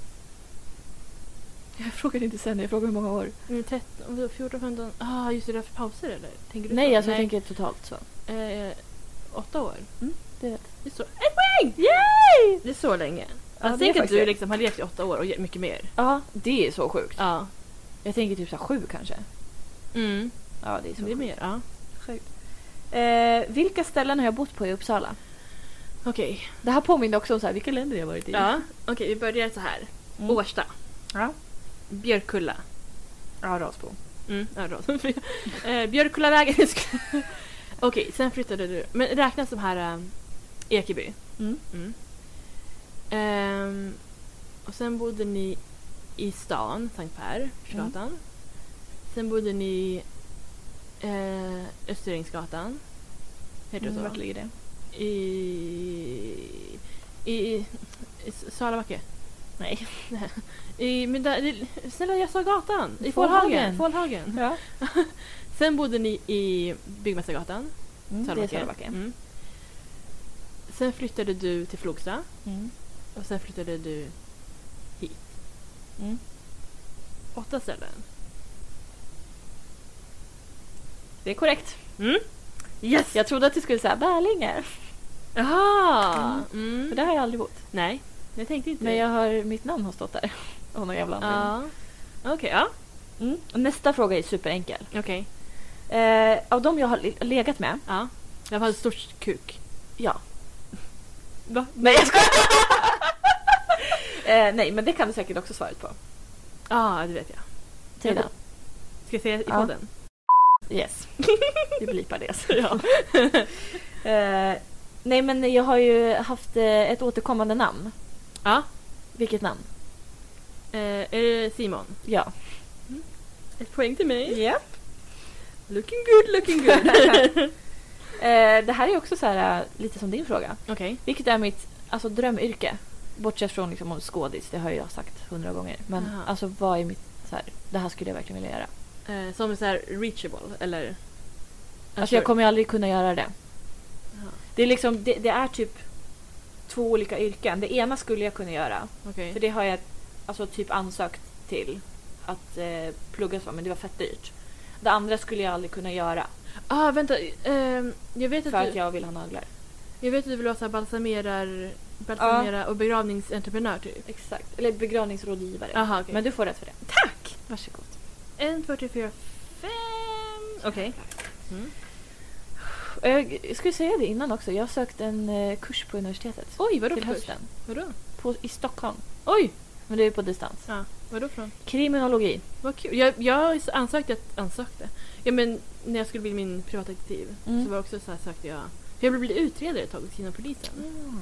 Jag frågar inte sen, jag frågar hur många år. Nu 13, vadå, 14, 15? Ah, just det, det är för pauser eller? Tänker du Nej, så? alltså jag tänker totalt så. Eh, åtta år. Det vet. Mm, Det är så... Ett poäng! Yay! Det är så länge. Ja, alltså, det är tänk att faktiskt du det. liksom har levt i åtta år och ge- mycket mer. Ja, det är så sjukt. Ja. Jag tänker typ så här sju kanske. Mm. Ja, det är Det är mer, ja. sjukt. Eh, vilka ställen har jag bott på i Uppsala? Okej. Det här påminner också om så här, vilka länder jag varit i. Ja. Okej, vi börjar så här. Mm. Årsta. Ja. Björkulla. ja Rasbo. Mm, ja, bra. eh, Björkullavägen. Jag ska- Okej, sen flyttade du. Men räknas de här eh, Ekeby? Mm. Mm. Ehm, och sen bodde ni i stan, Sankt Per, Mm. Persgatan. Sen bodde ni eh, Österängsgatan. Heter det så? Mm, Vart ligger det? I, i, i, S- Salabacke? Nej. I, men där, det- snälla, jag sa gatan! I Fålhagen. Fålhagen. Fålhagen. Ja. Sen bodde ni i Byggmästargatan, Mm, det är Sölvbacka. Sölvbacka. Mm. Sen flyttade du till Flogsta Mm. och sen flyttade du hit. Mm. Åtta ställen. Det är korrekt. Mm. Yes! Jag trodde att du skulle säga Bärlinge. Jaha! Mm. För där har jag aldrig bott. Nej, jag tänkte inte Men det. jag har, mitt namn har stått där. Av någon jävla anledning. Ja. Okej, ja. Mm. Och Nästa fråga är superenkel. Okej. Eh, av de jag har le- legat med. Ja. Jag har ett stort kuk. Ja. Va? Nej jag skojar! eh, nej men det kan du säkert också svaret på. Ja, det vet jag. Tina. Ska jag säga i Ja. podden? Yes. Vi blipar det. Så ja. eh, nej men jag har ju haft eh, ett återkommande namn. Ja. Vilket namn? Eh, är det Simon? Ja. Ett poäng till mig. Yep. Looking good, looking good. eh, det här är också så här, eh, lite som din fråga. Okej. Vilket är mitt alltså, drömyrke? Bortsett från liksom, skådis, det har ju jag sagt hundra gånger. Men Aha. alltså vad är mitt... Så här, det här skulle jag verkligen vilja göra. Eh, som är så här reachable, eller? Alltså jag kommer ju aldrig kunna göra det. Jaha. Det är, liksom, det, det är typ två olika yrken. Det ena skulle jag kunna göra. Okej. För det har jag alltså, typ ansökt till att eh, plugga så, men det var fett dyrt. Det andra skulle jag aldrig kunna göra Ah, vänta. ehm, jag, vet för att att du, jag vill ha naglar. jag vet att du vill vara så här balsamerar, balsamera och begravningsentreprenör typ. Exakt. Eller begravningsrådgivare. Aha, okej. Men du får rätt för det. Tack! Varsågod. En, två, tre, fyra, fem. Okej. Mm. Jag skulle säga det innan också. Jag sökte en eh, kurs på universitetet Oj, vadå till för kurs? hösten. Vadå? På, I Stockholm. Oj! Men det är ju på distans. Ja, vadå från? Kriminologi. Vad kul. Jag, jag ansökte, att- ansökte. Ja, men när jag skulle bli min privatdetektiv Mm. så var det också så här sökte jag. För jag ville bli utredare ett tag vid sidan av polisen.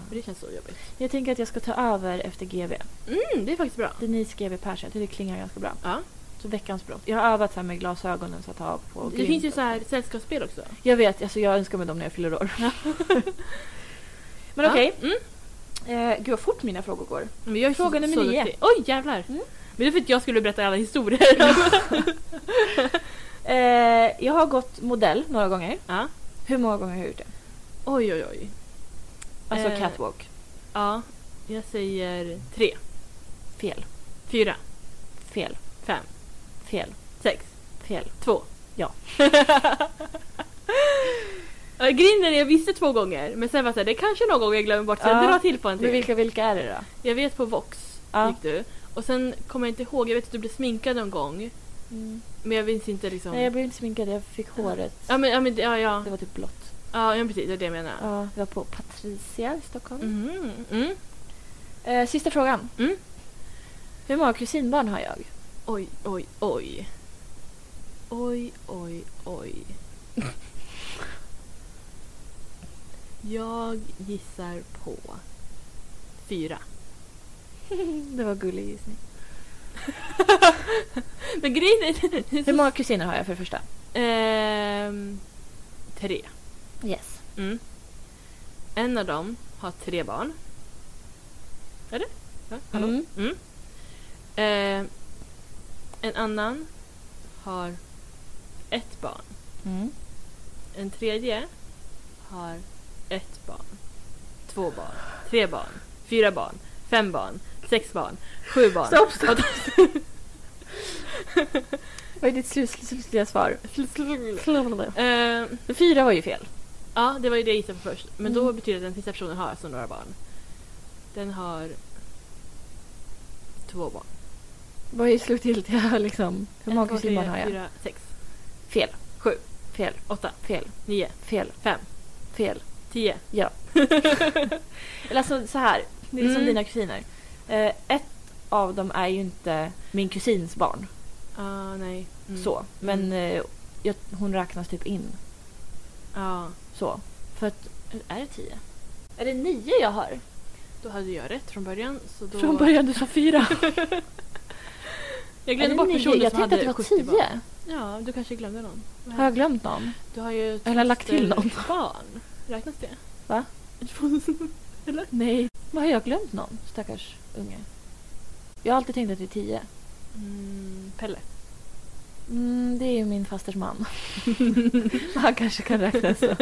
Men det känns så jobbigt. Jag tänker att jag ska ta över efter GV. Mm, det är faktiskt bra. Denise GV Persson, jag tycker det klingar ganska bra. Ja. Så veckans brott. Jag har övat så här med glasögonen så att ha på det glimt finns ju och så här sällskapsspel också. Jag vet, alltså jag önskar mig dem när jag fyller år. Men okej. Ja, mm. Eh, gud vad fort mina frågor går. Men jag är Fråga så, nummer så nio. duktig. Oj, jävlar. Mm. Men det är för att jag skulle berätta alla historier. Eh, jag har gått modell några gånger. ja. Hur många gånger har jag gjort det? Oj, oj, oj. Alltså Eh. catwalk. Ja, jag säger tre, Fel. fyra, Fel. fem, Fel. sex, Fel. två. Ja. Ja, Grejen är att jag visste två gånger, men sen var det så här, det kanske är någon gång jag glömmer bort, så jag Ja. drar till på en Men till. vilka, vilka är det då? Jag vet på Vox Ja. gick du, och sen kommer jag inte ihåg, jag vet att du blev sminkad någon gång, men jag minns inte liksom... Mm. Nej, jag blev inte sminkad. Jag fick håret. Ja, men, ja, men ja, ja. Det var typ blått. Ja, ja, precis, det är det jag menar. Ja, vi var på Patricia i Stockholm. Mhm, mm. Eh, sista frågan. Mm. Hur många kusinbarn har jag? Oj, oj, oj. Oj, oj, oj. Jag gissar på fyra. Det var gullig gissning. Men grejen är... Hur många kusiner har jag för det första? Ehm, tre. Yes. Mm. En av dem har tre barn. Är det? Ja, hallå? Mm. Mm. Ehm, en annan har ett barn. Mm. En tredje har ett barn, två barn, tre barn, fyra barn, fem barn, sex barn, sju barn. Stopp, stopp! Vad är ditt slut- slutliga svar? Eh, Fyra var ju fel. ja, det var ju det jag gissade på först. Men då Mm. betyder det att den sista personen har alltså några barn. Den har två barn. Vad är slutgiltiga liksom? Hur Ett, många två, tre, kusinbarn har jag? Fyra, sex, Fel. Sju. Fel. åtta, Fel. nio, Fel. fem, Fel. tio. Eller alltså så här. Det är som Mm. dina kusiner. Eh, ett av dem är ju inte min kusins barn. Ah, nej. Mm. Så. Men eh, jag, hon räknas typ in. Ja, Så. För att... Är det tio? Är det nio jag har? då hade jag rätt från början. Så då... Från början du sa fyra. Jag Är glömde det bort nio? personen Jag som tänkte hade att det var 70 barn. tio. Ja, du kanske glömde någon. Vad Har jag glömt någon? Du har ju Eller lagt till någon. ett barn. Räknas det? Va? Eller? Nej. Vad har jag glömt någon? Stackars unge. Jag har alltid tänkt att det är tio. Mm, Pelle. Mm, det är ju min fasters man. Han kanske kan räkna så.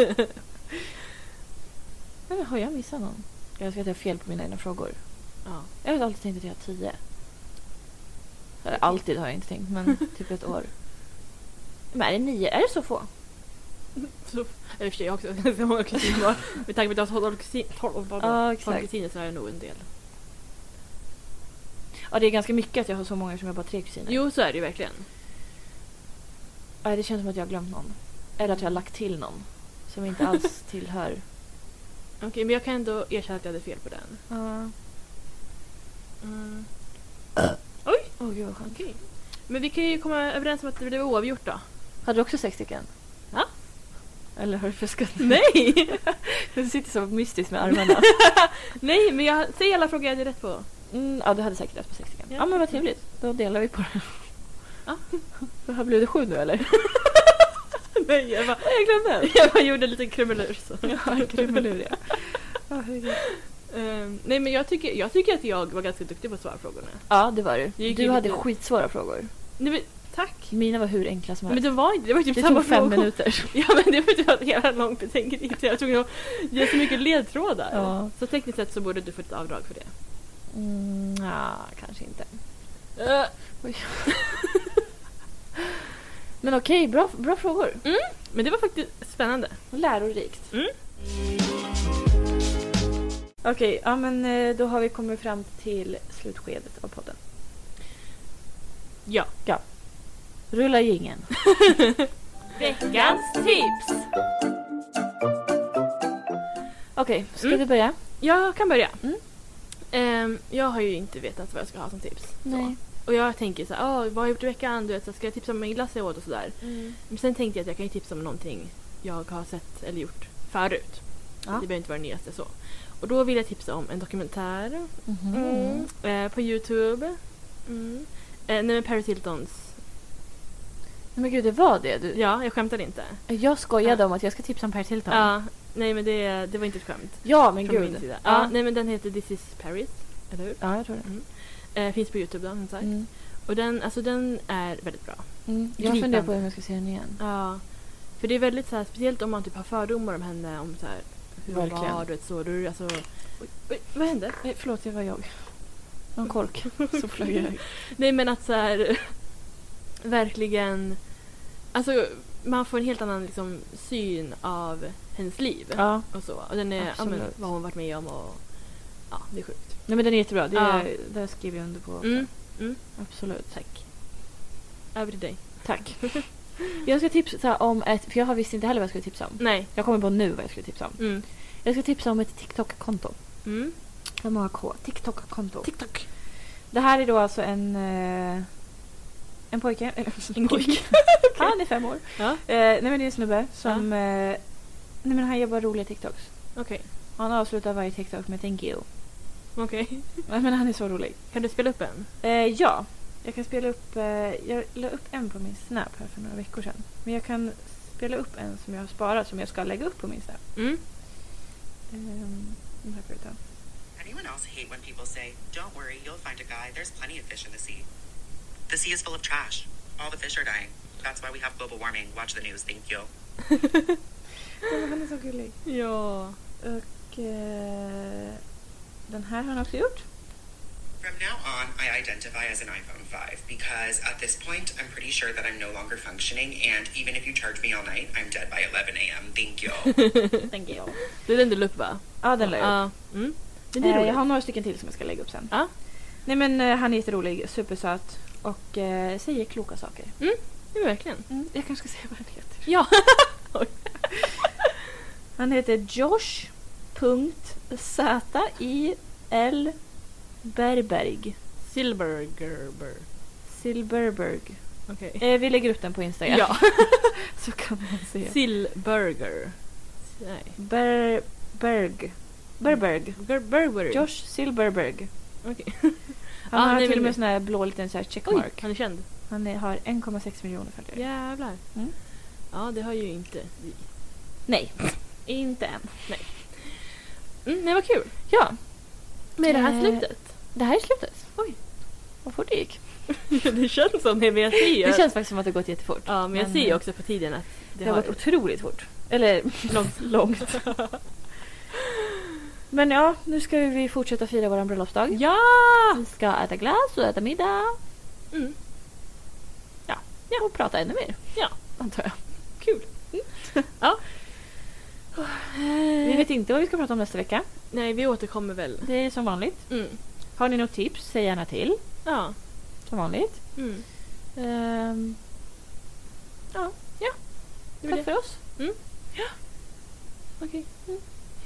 Nej, men har jag missat någon? Jag önskar att jag har fel på mina egna frågor. Ja. Jag har alltid tänkt att jag har tio. Eller alltid har jag inte tänkt, men typ ett år. Men är det nio? Är det så få? Så, eller i och för sig, jag har också ganska många kusiner. Med tanke på att jag har 12 kusin- 12 barn- Ja, 12 exakt. kusiner så har jag nog en del. Ja, det är ganska mycket att jag har så många som jag bara har tre kusiner. Jo, så är det ju verkligen. Ja, det känns som att jag har glömt någon. Eller att jag har lagt till någon som inte alls tillhör. Okej, men jag kan ändå erkänna att jag hade fel på den. Ja. Mm. Åh gud vad skönt. Okej. Men vi kan ju komma överens om att det blev oavgjort då. Hade du också sex stycken? Ja. Eller har du fuskat? Nej! Du sitter så mystiskt med armarna. Nej, men jag säger alla frågor jag hade rätt på. Mm, ja, du hade säkert rätt på sex stycken. Ja. Ja, men vad trevligt. Då delar vi på det. Ja. Vad blev det sju nu eller? Nej, jag bara, Jag glömde. jag bara gjorde en liten krumelur så. Ja, krumelur ja. Ja, herregud. Ehm, nej men jag tycker, jag tycker att jag var ganska duktig på att svara på frågorna. Ja, det var Det du. gick Du ju hade lite- skitsvåra frågor. Nej men tack! Mina var hur enkla som Men helst. det var inte, det var typ Det samma tog fem frågor. minuter. Ja men det var typ en jävla lång betänketid så jag tror att ge så mycket ledtrådar. Ja. Så tekniskt sett så borde du få ett avdrag för det. Mm, ja, kanske inte. Men okej, bra, bra frågor. Men det var faktiskt spännande. Lärorikt. Mm. Okej, ja men eh, då har vi kommit fram till slutskedet av podden. Ja. Rulla jingeln. Veckans tips! Okej, ska Mm. du börja? Jag kan börja. Mm. Ehm, jag har ju inte vetat vad jag ska ha som tips. Nej. Och jag tänker så här, "Ah, vad har jag gjort i veckan? Du vet, så här, ska jag tipsa om en glass jag åt och sådär. Mm. Men sen tänkte jag att jag kan ju tipsa om någonting jag har sett eller gjort förut. Ja. Det behöver inte vara det nyaste så. Och då vill jag tipsa om en dokumentär mm. eh, på Youtube. Mm. Eh, nej men Paris Hiltons. Men gud, det var det du... Ja, jag skämtar inte. Jag skojade om att jag ska tipsa om Per Tilton. Ja, nej men det, det var inte ett skämt. ja, men från min gud. sida. Ja. Ja. nej men den heter This is Paris. Eller hur? ja, jag tror det. Eh, finns på Youtube då, som sagt. Mm. Och den, alltså, den är väldigt bra. Mm. Jag Gripande. funderar på om jag ska se den igen. Ja. För det är väldigt så här, speciellt om man typ har fördomar om henne om så här, hur hon Verkligen. var, du vet så. Då är det alltså... Oj, oj, vad hände? Nej, förlåt, det var jag. Någon kork som flög iväg. Nej men att så här, verkligen... Alltså man får en helt annan liksom, syn av hennes liv. Ja. Och så. Och den är, ja, men, Absolut. vad hon varit med om och... Ja, det är sjukt. Nej, men den är jättebra. Det Ja. där skriver jag under på. Mm, mm. Absolut. Tack. Över till dig. Tack. Jag ska tipsa om ett... För jag har visst inte heller vad jag skulle tipsa om. Nej. Jag kommer på nu vad jag skulle tipsa om. Mm. Jag ska tipsa om ett TikTok-konto. Mm. Hur många K? TikTok-konto. TikTok. Det här är då alltså en... eh, En pojke. eller, En pojke. Han är fem år. Ja, Eh, nej men det är en snubbe som... Eh, nej men han gör bara roliga TikToks. okej. Han avslutar varje TikTok med thank you. Okej. Nej men han är så rolig. Kan du spela upp en? Eh, ja, jag kan spela upp... Eh, jag la upp en på min Snap här för några veckor sedan. Men jag kan spela upp en som jag har sparat som jag ska lägga upp på min Snap. Mm. Ehm, den här får jag ta. Anyone else hate when people say, Don't worry, you'll find a guy, there's plenty of fish in the sea? The sea is full of trash. All the fish are dying. That's why we have global warming. Watch the news, thank you. Ja, men han är så gullig. Ja. Och eh, den här har han också gjort. From now on, I identify as an iPhone 5 because at this point, I'm pretty sure that I'm no longer functioning, and even if you charge me all night, I'm dead by 11 a.m. Thank you. Thank you. Det är den du la upp va? Ja, den la jag upp. Ja. Mm. Men det är Eh, roligt. jag har några stycken till som jag ska lägga upp sen. Ja. Nej men eh, han är jätterolig, supersöt och eh, säger kloka saker. Mm. Ja, men verkligen. Jag kanske ska säga vad han heter. Mm. Ja. Han heter Josh.zil Berberg. Silvergerber. Silberberg. Okej. Eh, vi lägger upp den på Instagram. Ja. Så kan man se. Silburger. Nej. Ber- Berg. Berberg. Ger- Burberry. Josh Silberberg. Okej. Han Ah, har nej, till och men- med sån här blå liten så här Oj, checkmark. han är känd. Han är, har 1,6 miljoner följare. Jävlar. Mm. Ja, det har ju inte vi. Nej, inte än. Mm, nej, vad kul. Ja, Med det här Eh. slutet. det här är slutet. Oj. Vad fort det gick. det känns som det, men jag ser ju. Det känns faktiskt som att det har gått jättefort. Ja, men, jag Men, ser ju eh, också på tiden att det, Det har varit otroligt fort. Eller långt. långt. Men ja, nu ska vi fortsätta fira vår bröllopsdag. Ja! Vi ska äta glass och äta middag. Mm. Ja. ja. Och prata ännu mer. Ja. Antar jag. Kul. Mm. Ja. Vi vet inte vad vi ska prata om nästa vecka. Nej, vi återkommer väl. Det är som vanligt. Mm. Har ni något tips, säg gärna till. Ja. Som vanligt. Mm. Ehm, ja. ja. Mm. Det var Tack det. för oss. Okej.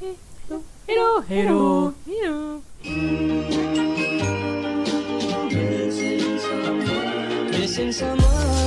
Hej då! Hej då! Hej då! Missing someone